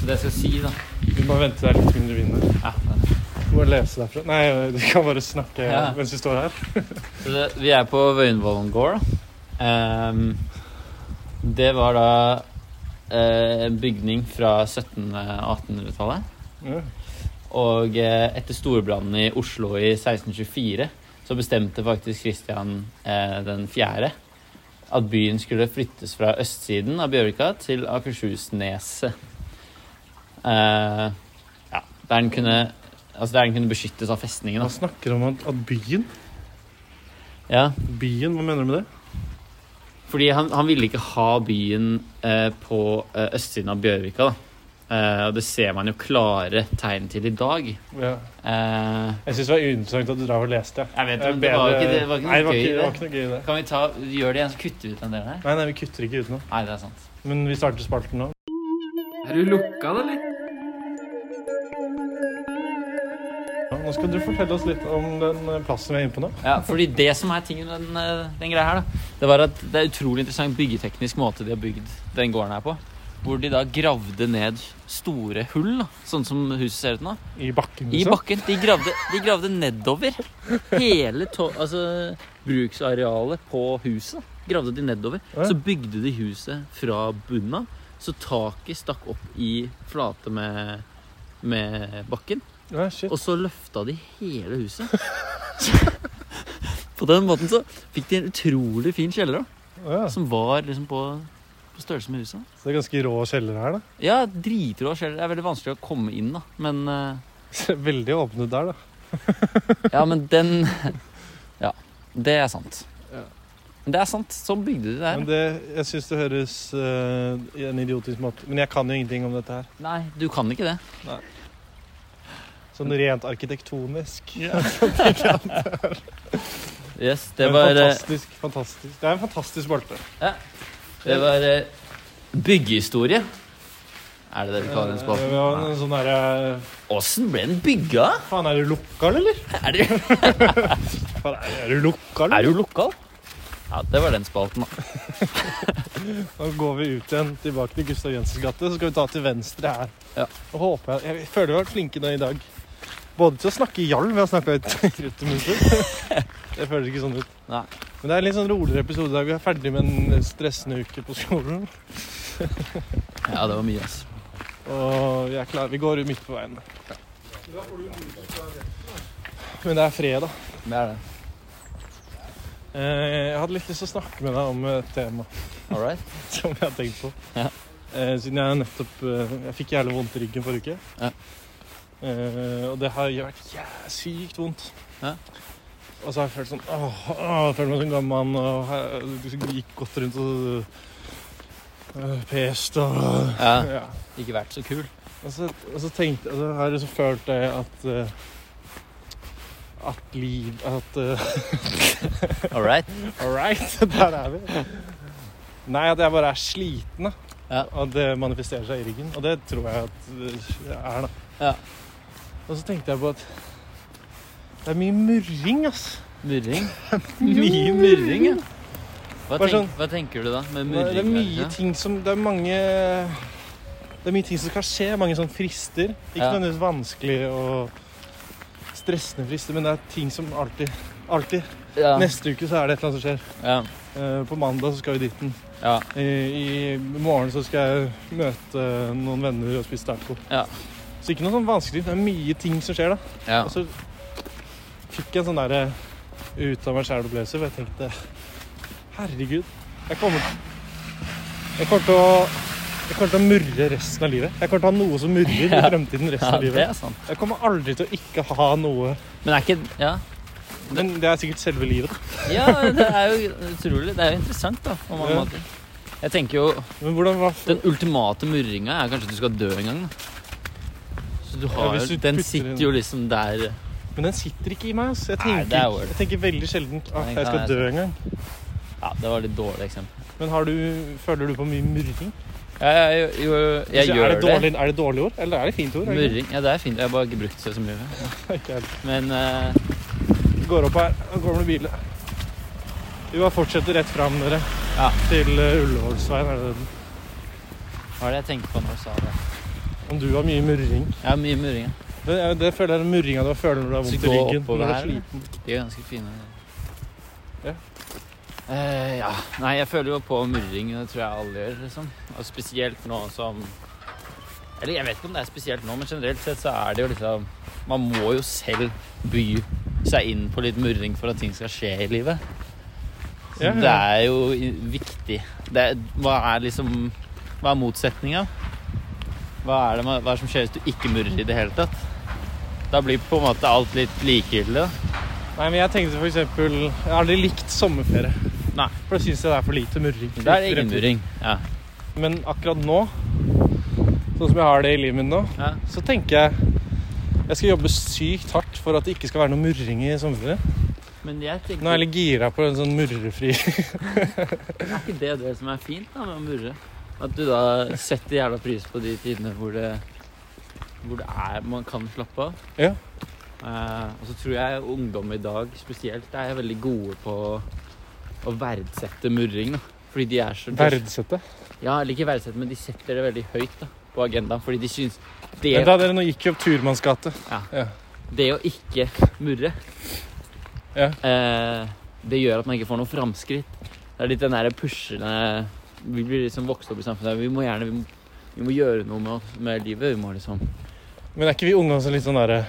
Speaker 1: Så det jeg skal si, da
Speaker 2: Vi må vente der litt mindre vind. her.
Speaker 1: ja,
Speaker 2: Du må lese derfra. Nei, du kan bare snakke
Speaker 1: Ja.
Speaker 2: mens vi står her.
Speaker 1: Så det, vi er på Vøyenvollen gård. da. Ehm, det var da eh, en bygning fra 1700-1800-tallet.
Speaker 2: Ja.
Speaker 1: Og eh, etter storbrannen i Oslo i 1624 så bestemte faktisk Kristian eh, den fjerde at byen skulle flyttes fra østsiden av Bjørvika til Akershusneset. Eh, ja, der den kunne Altså der den kunne beskyttes av festningen.
Speaker 2: Hva
Speaker 1: Da.
Speaker 2: snakker du om at, at byen?
Speaker 1: Ja,
Speaker 2: Byen, hva mener du med det?
Speaker 1: fordi han, han ville ikke ha byen eh, på eh, østsiden av Bjørvika. da. Eh, og det ser man jo klare tegn til i dag. Eh,
Speaker 2: Jeg syns det var uinteressant at du drar og leste.
Speaker 1: jeg vet
Speaker 2: Det er
Speaker 1: men det var jo
Speaker 2: bedre-
Speaker 1: ikke, det var ikke
Speaker 2: Nei, det
Speaker 1: noe
Speaker 2: var
Speaker 1: gøy
Speaker 2: ikke,
Speaker 1: i
Speaker 2: det var
Speaker 1: det.
Speaker 2: ikke noe gøy i det.
Speaker 1: Kan vi ta, gjør det igjen, så kutter vi ut den delen her?
Speaker 2: Nei, nei, vi kutter ikke ut nå.
Speaker 1: Nei, det er sant.
Speaker 2: Men vi starter spalten nå.
Speaker 5: Er du lukka, da, eller?
Speaker 2: Ja, nå skal du fortelle oss litt om den eh, plassen vi er inne på nå.
Speaker 1: Ja, fordi det som er tingen med den, eh, den greia her, da, det var at det er utrolig interessant byggeteknisk måte de har bygd den gården her på. Hvor de da gravde ned store hull, da, sånn som huset ser ut nå.
Speaker 2: I bakken,
Speaker 1: I
Speaker 2: liksom.
Speaker 1: bakken. De gravde, de gravde nedover. Hele to, altså, bruksarealet på huset gravde de nedover.
Speaker 2: Ja.
Speaker 1: Så bygde de huset fra bunnen av. Så taket stakk opp i flate med, med bakken.
Speaker 2: Ja, shit.
Speaker 1: Og så løfta de hele huset. På den måten så fikk de en utrolig fin kjeller òg,
Speaker 2: Ja,
Speaker 1: som var liksom på, på størrelse med huset.
Speaker 2: så det er ganske rå kjeller her, da.
Speaker 1: Ja, dritrå kjeller. Det er veldig vanskelig å komme inn, da. Men, eh,
Speaker 2: Veldig åpnet der, da.
Speaker 1: ja, men den Ja, det er sant. Men det er sant. Sånn bygde de det her.
Speaker 2: Men det, jeg syns det høres eh, i en idiotisk måte Men jeg kan jo ingenting om dette her.
Speaker 1: Nei, du kan ikke det.
Speaker 2: Sånn rent arkitektonisk.
Speaker 1: Yes, det
Speaker 2: Men
Speaker 1: var, eh,
Speaker 2: fantastisk, fantastisk. Det er en fantastisk bolte.
Speaker 1: det var eh, byggehistorie. Er det det vi kaller den
Speaker 2: Eh, vi har
Speaker 1: spalten?
Speaker 2: en sånn derre
Speaker 1: Åssen ble den bygga?
Speaker 2: Faen, er du lokal, eller?
Speaker 1: Er det
Speaker 2: Faen, er- er du lokal?
Speaker 1: Er du lokal? Ja, det var den spalten, da.
Speaker 2: Nå går vi ut igjen tilbake til Gustav Jensens gate, så skal vi ta til venstre her.
Speaker 1: Ja.
Speaker 2: Og håper jeg, jeg føler vi har vært flinke nå i dag. Både til å snakke i hjalv, vi har snakka litt krutt og muser. Det føles ikke sånn ut.
Speaker 1: Nei.
Speaker 2: Men det er en litt sånn roligere episode i dag. Vi er ferdig med en stressende uke på skolen.
Speaker 1: Ja, det var mye, altså. ass.
Speaker 2: Og vi er klare. Vi går midt på veien. Men det er fredag.
Speaker 1: Det er det.
Speaker 2: Eh, Jeg hadde litt lyst til å snakke med deg om et tema
Speaker 1: All right.
Speaker 2: som jeg har tenkt på.
Speaker 1: Ja.
Speaker 2: Eh, Siden jeg nettopp eh, Jeg fikk jævlig vondt i ryggen forrige uke.
Speaker 1: Ja.
Speaker 2: Eh, Og det har vært jæ- sykt vondt.
Speaker 1: Ja.
Speaker 2: Og så har jeg følt sånn åh, åh, jeg føler meg som en gammel mann og her- liksom, gikk godt rundt og øh, pest og
Speaker 1: Ja,
Speaker 2: ja.
Speaker 1: Ikke vært så kul.
Speaker 2: Og så, og så tenkte og så har jeg så følt det at eh, At liv At eh,
Speaker 1: All right.
Speaker 2: All right, der er vi. Nei, at jeg bare er sliten. da.
Speaker 1: Ja.
Speaker 2: Og det manifesterer seg i ryggen. Og det tror jeg at det er, da.
Speaker 1: Ja.
Speaker 2: Og så tenkte jeg på at det er mye murring, ass.
Speaker 1: Murring.
Speaker 2: Mye
Speaker 1: murring, ja. Hva,
Speaker 2: Bare
Speaker 1: tenk,
Speaker 2: sånn-
Speaker 1: hva tenker du da med
Speaker 2: Det
Speaker 1: murring?
Speaker 2: er mye
Speaker 1: ja?
Speaker 2: ting som Det er mange Det er mye ting som skal skje. Mange sånne frister. Ikke
Speaker 1: Ja.
Speaker 2: nødvendigvis vanskelig og stressende frister, men det er ting som alltid Alltid.
Speaker 1: Ja.
Speaker 2: Neste uke så er det et eller annet som skjer.
Speaker 1: Ja.
Speaker 2: Eh, På mandag så skal vi ditten.
Speaker 1: ja.
Speaker 2: I, I morgen så skal jeg møte noen venner og spise taco.
Speaker 1: Ja.
Speaker 2: Så ikke noe sånn vanskelig. Det er mye ting som skjer, da.
Speaker 1: ja.
Speaker 2: Og så fikk jeg en sånn derre ut av meg sjæl-opplevelse, for jeg tenkte Herregud. Jeg kommer Jeg kommer til å jeg kommer til å murre resten av livet. Jeg kommer til å ha noe som murrer i fremtiden resten
Speaker 1: ja
Speaker 2: av
Speaker 1: det
Speaker 2: livet.
Speaker 1: er sant.
Speaker 2: Jeg kommer aldri til å ikke ha noe
Speaker 1: Men er ikke Ja,
Speaker 2: Men det er sikkert selve livet.
Speaker 1: ja det er jo utrolig. Det er jo interessant, da, på mange
Speaker 2: Ja.
Speaker 1: måter. Jeg tenker jo
Speaker 2: Men hvordan var
Speaker 1: Den ultimate murringa er kanskje at du skal dø en gang, da. Så du har
Speaker 2: Ja, hvis
Speaker 1: jo
Speaker 2: du
Speaker 1: Den
Speaker 2: putter
Speaker 1: sitter
Speaker 2: inn-
Speaker 1: jo liksom der
Speaker 2: Men den sitter ikke i meg, ass. Jeg
Speaker 1: Nei,
Speaker 2: tenker,
Speaker 1: det er jo-
Speaker 2: jeg tenker veldig sjelden at
Speaker 1: Nei,
Speaker 2: jeg
Speaker 1: nei,
Speaker 2: skal dø
Speaker 1: sant.
Speaker 2: en gang.
Speaker 1: Ja, det var litt dårlig eksempel.
Speaker 2: Men har du, føler du på mye murring?
Speaker 1: Ja, jeg, jeg, jeg, jeg
Speaker 2: Altså,
Speaker 1: gjør
Speaker 2: er det. Dårlig, er det dårlig ord, eller er det fint ord? egentlig?
Speaker 1: Murring. Ja, det er fint. Jeg har bare ikke brukt det så mye.
Speaker 2: Ikke helt.
Speaker 1: Men eh,
Speaker 2: Vi går opp her, og kommer det biler. Vi bare fortsetter rett fram, dere.
Speaker 1: Ja.
Speaker 2: Til eh, Ullevålsveien. Er det den?
Speaker 1: hva er det jeg tenker på når du sa det?
Speaker 2: Om du har mye murring.
Speaker 1: Ja, mye murring. ja.
Speaker 2: Det, er- det føler jeg er murringa du føler når du har
Speaker 1: Skal vi
Speaker 2: vondt i
Speaker 1: gå
Speaker 2: ryggen.
Speaker 1: oppover
Speaker 2: Når du er
Speaker 1: her, eller?
Speaker 2: sliten.
Speaker 1: De er ganske fine.
Speaker 2: Ja.
Speaker 1: Eh, ja. Nei, jeg føler jo på murring. Det tror jeg alle gjør, liksom. Og spesielt nå som Eller jeg vet ikke om det er spesielt nå, men generelt sett så er det jo liksom Man må jo selv by seg inn på litt murring for at ting skal skje i livet. Så
Speaker 2: Ja, ja.
Speaker 1: Det er jo i- viktig. Det er, hva er liksom Hva er motsetninga? Hva er det man- hva er det som skjer hvis du ikke murrer i det hele tatt? Da blir på en måte alt litt likegyldig. da.
Speaker 2: Nei, men jeg tenkte for eksempel Jeg har aldri likt sommerferie.
Speaker 1: Nei.
Speaker 2: For da syns jeg det er for lite murring.
Speaker 1: Da er det innmurring. Ja.
Speaker 2: Men akkurat nå, sånn som jeg har det i livet mitt nå,
Speaker 1: Ja.
Speaker 2: så tenker jeg jeg skal jobbe sykt hardt for at det ikke skal være noe murring i sommerferien.
Speaker 1: Men jeg tenker
Speaker 2: Nå er jeg litt gira på en sånn murrefri
Speaker 1: Er ikke det det som er fint da med å murre? At du da setter jævla pris på de tidene hvor det, hvor det er man kan slappe av.
Speaker 2: Ja.
Speaker 1: Eh, og så tror jeg ungdom i dag spesielt er veldig gode på å verdsette murring. da. Fordi de er så
Speaker 2: verdsette.
Speaker 1: Ja, eller ikke verdsette, men de setter det veldig høyt da, på agendaen. Fordi de syns det,
Speaker 2: Men da dere nå gikk jo opp Turmannsgate.
Speaker 1: det å ikke murre
Speaker 2: Ja.
Speaker 1: eh, Det gjør at man ikke får noe framskritt. Det er litt den der pushende Vi blir liksom vokst opp i samfunnet. Vi må gjerne vi må, vi må gjøre noe med, med livet. Vi må liksom
Speaker 2: Men er ikke vi ungdom som litt sånn derre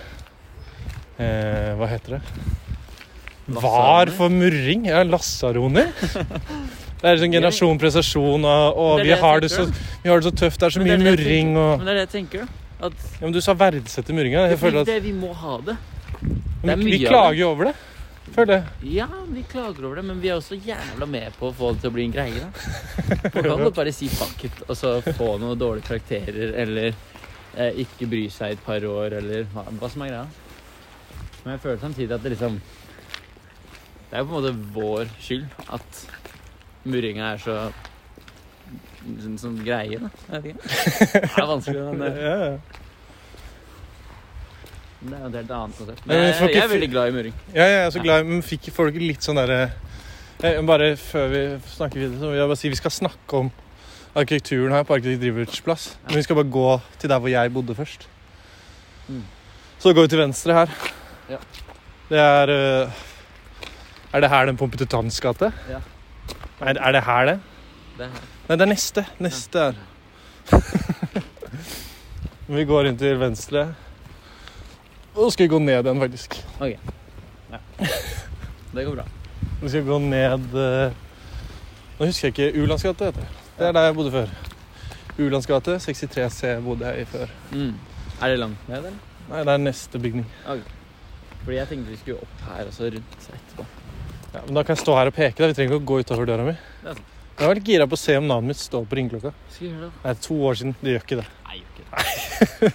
Speaker 2: eh, Hva heter det? Var for murring? Ja, lassaroner. Det er sånn generasjon prestasjon og, og
Speaker 1: Det er
Speaker 2: vi,
Speaker 1: det jeg
Speaker 2: har det så,
Speaker 1: tenker,
Speaker 2: vi har det så tøft, det er så
Speaker 1: Men det
Speaker 2: mye
Speaker 1: er det jeg
Speaker 2: murring og
Speaker 1: Men det er det jeg tenker. da, At
Speaker 2: Ja, men du sa verdsette murringa. Jeg
Speaker 1: fordi
Speaker 2: føler at
Speaker 1: det, vi må ha det. det er
Speaker 2: men Vi
Speaker 1: mye av
Speaker 2: klager jo over det. Føler jeg.
Speaker 1: Ja, vi klager over det, men vi er også jævla med på å få det til å bli en greie. da. Man kan godt bare si fuck it og så få noen dårlige karakterer eller eh, ikke bry seg i et par år eller hva, hva som er greia. Men jeg føler samtidig at det liksom Det er jo på en måte vår skyld at murringa er så en sånn greie, da. Jeg vet ikke. Det er vanskelig, men det,
Speaker 2: Ja, ja.
Speaker 1: det er jo et helt annet konsept.
Speaker 2: Men
Speaker 1: Men
Speaker 2: vi
Speaker 1: jeg,
Speaker 2: får
Speaker 1: jeg
Speaker 2: ikke
Speaker 1: er veldig glad i murring.
Speaker 2: Ja, jeg er så glad Men fikk får du ikke litt sånn derre Eh, Bare før vi snakker videre, så vil jeg bare si vi skal snakke om arkitekturen her på Arkitekt Driverts plass. Men vi skal bare gå til der hvor jeg bodde først.
Speaker 1: Mm.
Speaker 2: Så går vi til venstre her.
Speaker 1: Ja.
Speaker 2: Det er eh, Er det her den Pompetutans gate?
Speaker 1: Ja.
Speaker 2: Er, er det her det?
Speaker 1: Det er,
Speaker 2: Nei, det er neste. Neste er Vi går inn til venstre. Og så skal vi gå ned igjen, faktisk.
Speaker 1: det går bra.
Speaker 2: Vi skal gå ned eh, Nå husker jeg ikke Ulandsgate heter det. Det er der jeg bodde før. Ulandsgate 63C bodde jeg i før.
Speaker 1: Mm. Er det langt ned, eller?
Speaker 2: Nei, det er neste bygning.
Speaker 1: Fordi jeg tenkte vi skulle opp her og så rundt etterpå.
Speaker 2: Ja, men da kan jeg stå her og peke. da Vi trenger ikke å gå utafor døra mi.
Speaker 1: Det er sant.
Speaker 2: Jeg var litt gira på å se om navnet mitt står på ringeklokka.
Speaker 1: Skal vi gjøre det?
Speaker 2: Det er to år siden. Det gjør ikke det.
Speaker 1: Nei, gjør ikke det.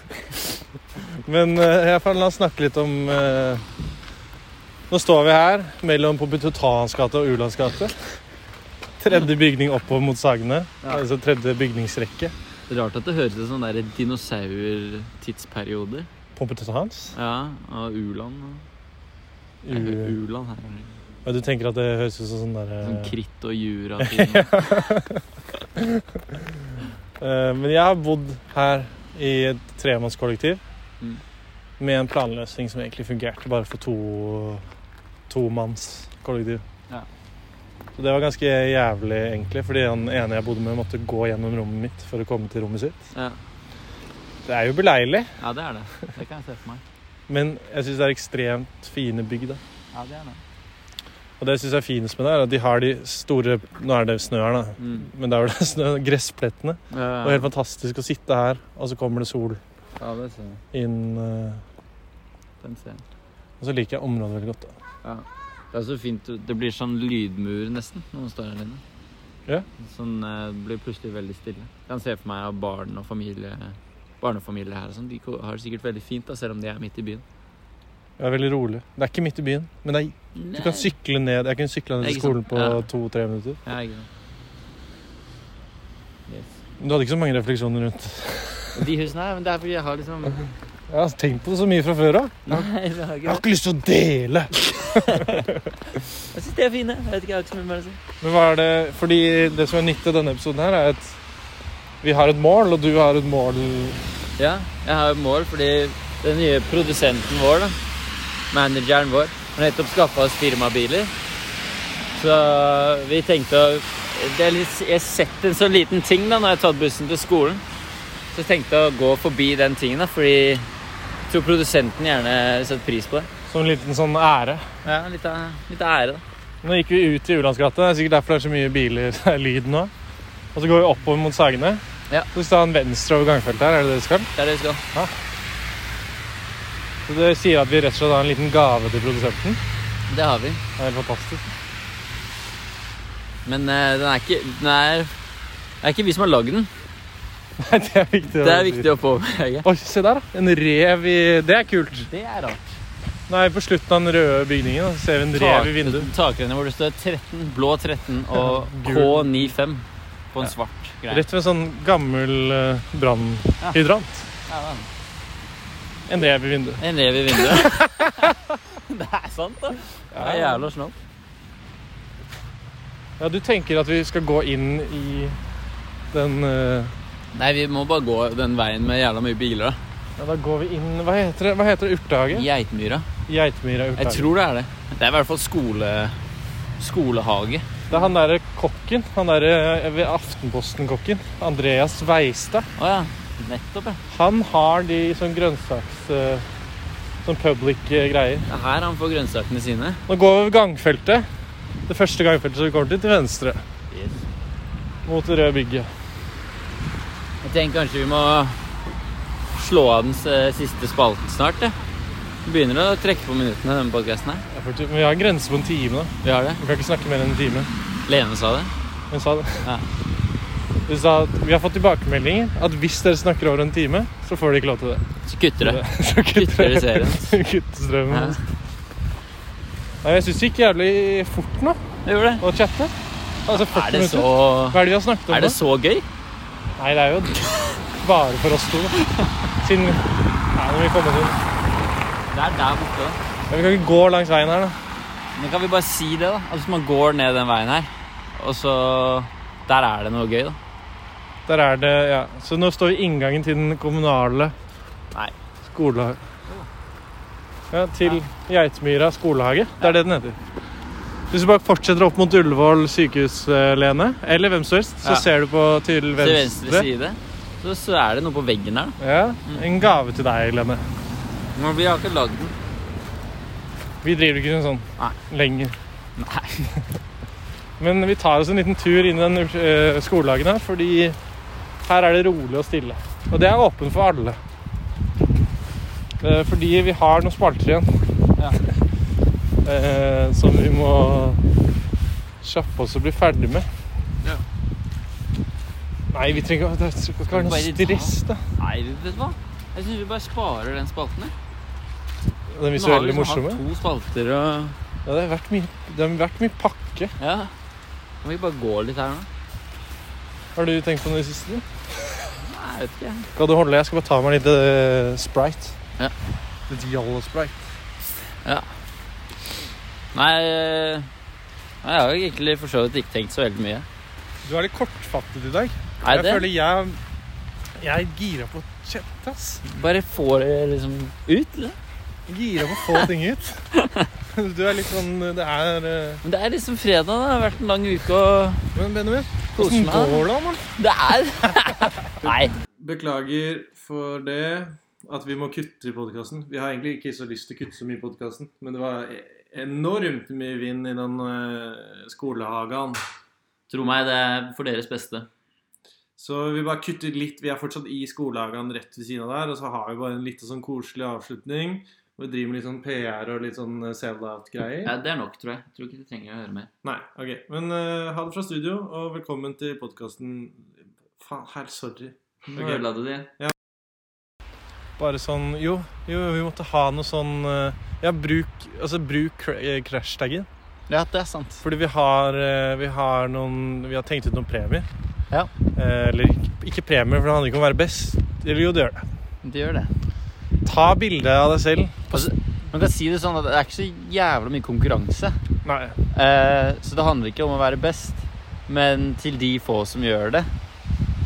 Speaker 2: Men eh, i hvert fall la oss snakke litt om eh, Nå står vi her mellom Pompetutans gate og Ulandsgate. Tredje bygning oppover mot Sagene.
Speaker 1: Ja.
Speaker 2: Altså tredje bygningsrekke.
Speaker 1: Det er Rart at det høres ut som sånne der dinosaurtidsperioder.
Speaker 2: Pompetutans.
Speaker 1: Ja, og u-land. og- Nei,
Speaker 2: U-
Speaker 1: U-land her.
Speaker 2: Ja, du tenker at det høres ut som sånn der eh,
Speaker 1: Sånn kritt og jura-tiden.
Speaker 2: eh, Men jeg har bodd her i et tremannskollektiv
Speaker 1: Mm.
Speaker 2: med en planløsning som egentlig fungerte bare for to tomannskollektiv.
Speaker 1: Ja.
Speaker 2: Så det var ganske jævlig, egentlig, fordi han ene jeg bodde med, måtte gå gjennom rommet mitt for å komme til rommet sitt.
Speaker 1: Ja.
Speaker 2: Det er jo beleilig,
Speaker 1: ja, det er det. Det kan jeg se for meg.
Speaker 2: men jeg syns det er ekstremt fine bygg, da.
Speaker 1: Ja, det er det.
Speaker 2: Og det jeg syns er finest med det, er at de har de store Nå er det snø her, da.
Speaker 1: Mm.
Speaker 2: Men det er vel snø, gressplettene. Det var helt fantastisk å sitte her, og så kommer det sol
Speaker 1: Ja, det ser jeg.
Speaker 2: inn. eh,
Speaker 1: Den ser jeg.
Speaker 2: Og så liker jeg området veldig godt. da.
Speaker 1: Det er så fint. Det blir sånn lydmur nesten når man står her inne.
Speaker 2: Ja.
Speaker 1: Sånn eh, det blir plutselig veldig stille. Jeg kan se for meg av barn og familie barnefamilier her og sånn. De ko- har det sikkert veldig fint, da, selv om de er midt i byen.
Speaker 2: Det er veldig rolig. Det er ikke midt i byen, men det er, du kan sykle ned. Jeg kunne sykla ned til
Speaker 1: Ikke
Speaker 2: skolen
Speaker 1: sant?
Speaker 2: på
Speaker 1: Ja.
Speaker 2: to-tre minutter.
Speaker 1: Ja, ikke sant. Yes.
Speaker 2: Men Du hadde ikke så mange refleksjoner rundt.
Speaker 1: Og de husene her, men det er fordi jeg har liksom
Speaker 2: Jeg har tenkt på det så mye fra før av.
Speaker 1: Nei, det har
Speaker 2: Jeg
Speaker 1: ikke
Speaker 2: har ikke lyst til å dele!
Speaker 1: Jeg syns de er fine. Jeg vet ikke, jeg har ikke så mye mer å si.
Speaker 2: Men hva er det Fordi det som er nytt i denne episoden her, er at vi har et mål, og du har et mål
Speaker 1: Ja, jeg har et mål fordi den nye produsenten vår, da, manageren vår, har nettopp skaffa oss firmabiler. Så vi tenkte å det er litt, Jeg har sett en så liten ting da når jeg har tatt bussen til skolen. Så jeg tenkte å gå forbi den tingen, da, fordi jeg tror produsenten gjerne setter pris på det.
Speaker 2: Som en liten sånn ære.
Speaker 1: Ja, litt, av- litt av ære, da.
Speaker 2: Nå gikk vi ut i Ulandsgata. Det er sikkert derfor det er så mye biler. Det er lyd nå. Og så går vi oppover mot Sagene.
Speaker 1: Ja.
Speaker 2: Så hvis du tar en venstre over gangfeltet her, er det det du skal?
Speaker 1: Det er det vi skal.
Speaker 2: Så det sier at vi rett og slett har en liten gave til produsenten.
Speaker 1: Det har vi.
Speaker 2: Det er helt fantastisk.
Speaker 1: Men eh, den er ikke Den er det er ikke vi som har lagd den.
Speaker 2: Nei, det er viktig.
Speaker 1: Det er viktig å påpeke.
Speaker 2: Oi, se der, da. En rev i Det er kult.
Speaker 4: Det er rart.
Speaker 2: Nei, på slutten av den røde bygningen da, så ser vi en rev i vinduet.
Speaker 1: Takrennet hvor det står 13, blå 13 og
Speaker 2: Gul.
Speaker 1: K95 på en svart greie.
Speaker 2: Rett ved en sånn gammel eh, brannhydrant.
Speaker 1: Ja,
Speaker 2: En rev i vinduet.
Speaker 1: En rev i vinduet. det er sant, da. Det er jævla snålt.
Speaker 2: Ja, du tenker at vi skal gå inn i den eh,
Speaker 1: Nei, vi må bare gå den veien med jævla mye biler, da.
Speaker 2: Ja, da går vi inn Hva heter det? Hva heter det? Urtehage?
Speaker 1: Geitmyra.
Speaker 2: Geitmyra urtehage.
Speaker 1: Jeg tror det er det. Det er i hvert fall skole... skolehage.
Speaker 2: Det er han derre kokken. Han derre eh, ved Aftenposten-kokken. Andreas Veistad.
Speaker 1: Å ja. Nettopp, ja.
Speaker 2: Han har de sånn grønnsaks... eh, sånn public-greier.
Speaker 1: Det er her han får grønnsakene sine.
Speaker 2: Nå går vi over gangfeltet. Det første gangfeltet som vi kommer til, til venstre.
Speaker 1: Yes.
Speaker 2: Mot det røde bygget.
Speaker 1: Jeg tenker kanskje vi må slå av den s- siste spalten snart, jeg. Vi begynner å trekke på minuttene i denne podkasten her.
Speaker 2: Ja, for ty- Men vi har en grense på en time, da.
Speaker 1: Vi har det.
Speaker 2: Vi kan ikke snakke mer enn en time.
Speaker 1: Lene sa det.
Speaker 2: Hun sa det.
Speaker 1: Ja.
Speaker 2: Hun sa at vi har fått tilbakemeldinger at hvis dere snakker over en time, så får dere ikke lov til det.
Speaker 1: Så kutter det.
Speaker 2: Så
Speaker 1: Kutter dere serien.
Speaker 2: Kutter strømmen.
Speaker 1: Ja.
Speaker 2: Nei, jeg syns det gikk jævlig fort nå
Speaker 1: Vi gjorde det.
Speaker 2: å chatte. Altså 40
Speaker 1: Er det så
Speaker 2: minutter. Hva er det vi har snakket om?
Speaker 1: Er det
Speaker 2: da?
Speaker 1: så gøy?
Speaker 2: Nei, det er jo bare for oss to. da. Siden Nei, når vi kommer til
Speaker 1: Det er der borte, da.
Speaker 2: Ja, Vi kan ikke gå langs veien her, da.
Speaker 1: Men kan vi bare si det, da? At hvis man går ned den veien her, og så Der er det noe gøy, da.
Speaker 2: Der er det Ja. Så nå står vi i inngangen til den kommunale
Speaker 1: Nei.
Speaker 2: skolehagen. Ja, til Geitmyra skolehage. Det er det den heter. Hvis du bare fortsetter opp mot Ullevål sykehus, eh, Lene, eller hvem som helst, så
Speaker 1: Ja.
Speaker 2: ser du på til
Speaker 1: Til
Speaker 2: venstre.
Speaker 1: venstre side. Så, så er det noe på veggen der,
Speaker 2: Ja, En gave til deg,
Speaker 1: da.
Speaker 2: Lene.
Speaker 1: Men vi har ikke lagd den.
Speaker 2: Vi driver ikke med sånn
Speaker 1: Nei.
Speaker 2: lenger.
Speaker 1: Nei.
Speaker 2: Men vi tar oss en liten tur inn i den eh, skolehagen her, fordi her er det rolig og stille. Og det er åpen for alle. Eh, fordi vi har noen spalter igjen. Eh, som vi må kjappe oss og bli ferdig med.
Speaker 1: Ja.
Speaker 2: Nei, vi trenger ikke Det skal ikke være noe
Speaker 1: Bare ta.
Speaker 2: stress, da.
Speaker 1: Nei, vet du hva? Jeg syns vi bare sparer den spalten. jeg.
Speaker 2: Den
Speaker 1: Nå har vi
Speaker 2: visuelle
Speaker 1: liksom
Speaker 2: morsomme.
Speaker 1: hatt to spalter og
Speaker 2: Ja, det har vært mye, det har vært mye pakke.
Speaker 1: Ja. Kan vi bare gå litt her nå?
Speaker 2: Har du tenkt på noe i det siste?
Speaker 1: Nei, jeg vet ikke. jeg.
Speaker 2: Skal du holde? Jeg skal bare ta meg litt eh, sprite.
Speaker 1: Ja.
Speaker 2: Litt Yallo Sprite.
Speaker 1: Nei, eh, nei, jeg har jo egentlig for så vidt ikke tenkt så veldig mye.
Speaker 2: Du er litt kortfattet i dag.
Speaker 1: Er
Speaker 2: jeg
Speaker 1: det?
Speaker 2: føler jeg Jeg er gira på å chatte, ass.
Speaker 1: Bare få det liksom ut. Eller?
Speaker 2: Gira på å få ting ut. Du er litt sånn Det er eh,
Speaker 1: Men det er liksom fredag. da. Det har vært en lang uke og
Speaker 2: Men Benjamin,
Speaker 1: Kos
Speaker 2: hvordan
Speaker 1: meg, da.
Speaker 2: går det, mann?
Speaker 1: Det er Nei.
Speaker 3: Beklager for det at vi må kutte i podkasten. Vi har egentlig ikke så lyst til å kutte så mye i podkasten, men det var e- enormt mye vind i den eh, skolehagen.
Speaker 1: Tro meg, det er for deres beste.
Speaker 3: Så vi bare kutter litt. Vi er fortsatt i skolehagen rett ved siden av der, og så har vi bare en litt sånn koselig avslutning. Og vi driver med litt sånn PR og litt sånn sell-out-greier.
Speaker 1: det er nok, tror jeg. Tror ikke du trenger å høre mer.
Speaker 3: Nei, ok. Men eh, ha det fra studio, og velkommen til podkasten Faen, her, sorry. Ok.
Speaker 1: du det?
Speaker 2: Bare sånn Jo, jo, vi måtte ha noe sånn eh, Ja, bruk Altså, bruk cra- eh, crash-taggen.
Speaker 4: Ja, det er sant.
Speaker 2: Fordi vi har, eh, vi har noen Vi har tenkt ut noen premier.
Speaker 4: Ja.
Speaker 2: Eh, Eller ikke- ikke premier, for det handler ikke om å være best. Eller jo, det gjør det.
Speaker 4: Det gjør det. Altså,
Speaker 2: Ta bilde av deg selv.
Speaker 4: Man kan si det sånn at det er ikke så jævla mye konkurranse.
Speaker 2: Nei.
Speaker 4: Eh, så det handler ikke om å være best, men til de få som gjør det.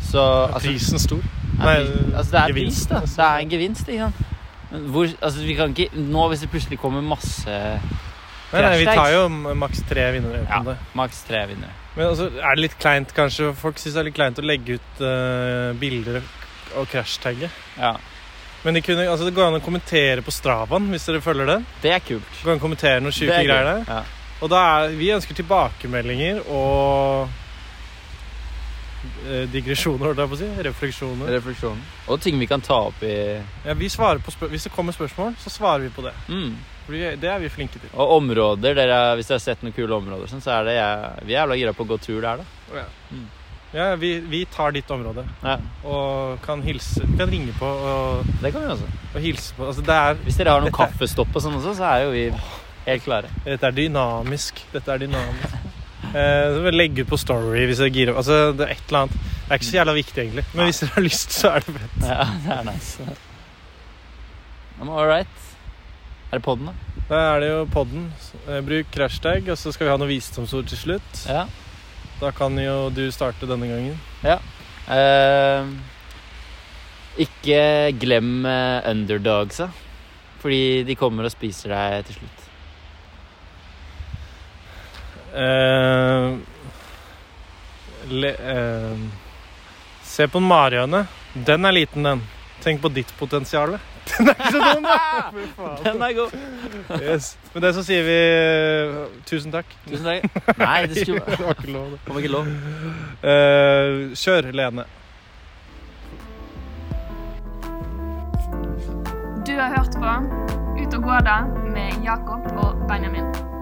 Speaker 4: Så altså,
Speaker 2: prisen stor?
Speaker 4: er, pri-
Speaker 2: Nei,
Speaker 4: altså det er pris,
Speaker 2: gevinst,
Speaker 4: da.
Speaker 2: altså.
Speaker 4: Det er en gevinst, ikke sant. Men hvor, altså, vi kan ikke, nå hvis det plutselig kommer masse
Speaker 2: Nei, nei, vi
Speaker 4: Hashtag.
Speaker 2: tar jo m- maks tre vinnere. på
Speaker 4: Ja.
Speaker 2: det.
Speaker 4: maks tre vinnere
Speaker 2: Men altså, er det litt kleint, kanskje? Folk syns det er litt kleint å legge ut eh, bilder og crashtagge.
Speaker 4: Ja.
Speaker 2: Men de kunne, altså, det går an å kommentere på Stravaen hvis dere følger den.
Speaker 1: Det er kult.
Speaker 2: Det går an å kommentere noen
Speaker 1: Det
Speaker 2: sjuke
Speaker 1: er gøy.
Speaker 2: greier der.
Speaker 1: Ja.
Speaker 2: Og da er, vi ønsker tilbakemeldinger og eh, digresjoner, holdt jeg på å si. Refleksjoner.
Speaker 1: Refleksjonen. Og ting vi kan ta opp i
Speaker 2: Ja, vi svarer på spør Hvis det kommer spørsmål, så svarer vi på det.
Speaker 1: mm.
Speaker 2: Fordi det er vi flinke til.
Speaker 1: Og områder dere, Hvis dere har sett noen kule områder, og sånn, så er det jeg, vi er jævla gira på å gå tur der, da.
Speaker 2: Ja, vi, vi tar ditt område
Speaker 1: Ja,
Speaker 2: og kan hilse Vi kan ringe på og,
Speaker 1: det kan vi også.
Speaker 2: og hilse på. Altså, det er,
Speaker 1: Hvis dere har noen
Speaker 2: Dette er-
Speaker 1: kaffestopp og sånn også, så er jo vi helt klare.
Speaker 2: dette er dynamisk. Dette er dynamisk. Eh, så må vi legge ut på Story hvis dere girer opp. Altså, det er et eller annet. Det er ikke så jævla viktig, egentlig. Men hvis dere har lyst, så er det fett.
Speaker 1: Ja, det er nice. Ja, Men all right. Er det podden, da?
Speaker 2: Da er det jo podden. Eh, Bruk crashtag, og så skal vi ha noen visdomsord til slutt.
Speaker 1: Ja.
Speaker 2: Da kan jo du starte denne gangen.
Speaker 1: Eh, ikke glem eh, underdogsa, fordi de kommer og spiser deg til slutt.
Speaker 2: Eh, le, eh, se på Marianne. Den er liten, den. Tenk på ditt potensial. Den er ikke så dum, da! Fy faen.
Speaker 1: Den er god.
Speaker 2: Yes. Med det så sier vi eh, tusen takk.
Speaker 1: Tusen takk. Nei, det skulle
Speaker 2: Det var ikke lov, det.
Speaker 1: det var ikke lov.
Speaker 2: Eh, kjør, Lene.
Speaker 6: Du har hørt på Ut og gå da med Jakob og Benjamin.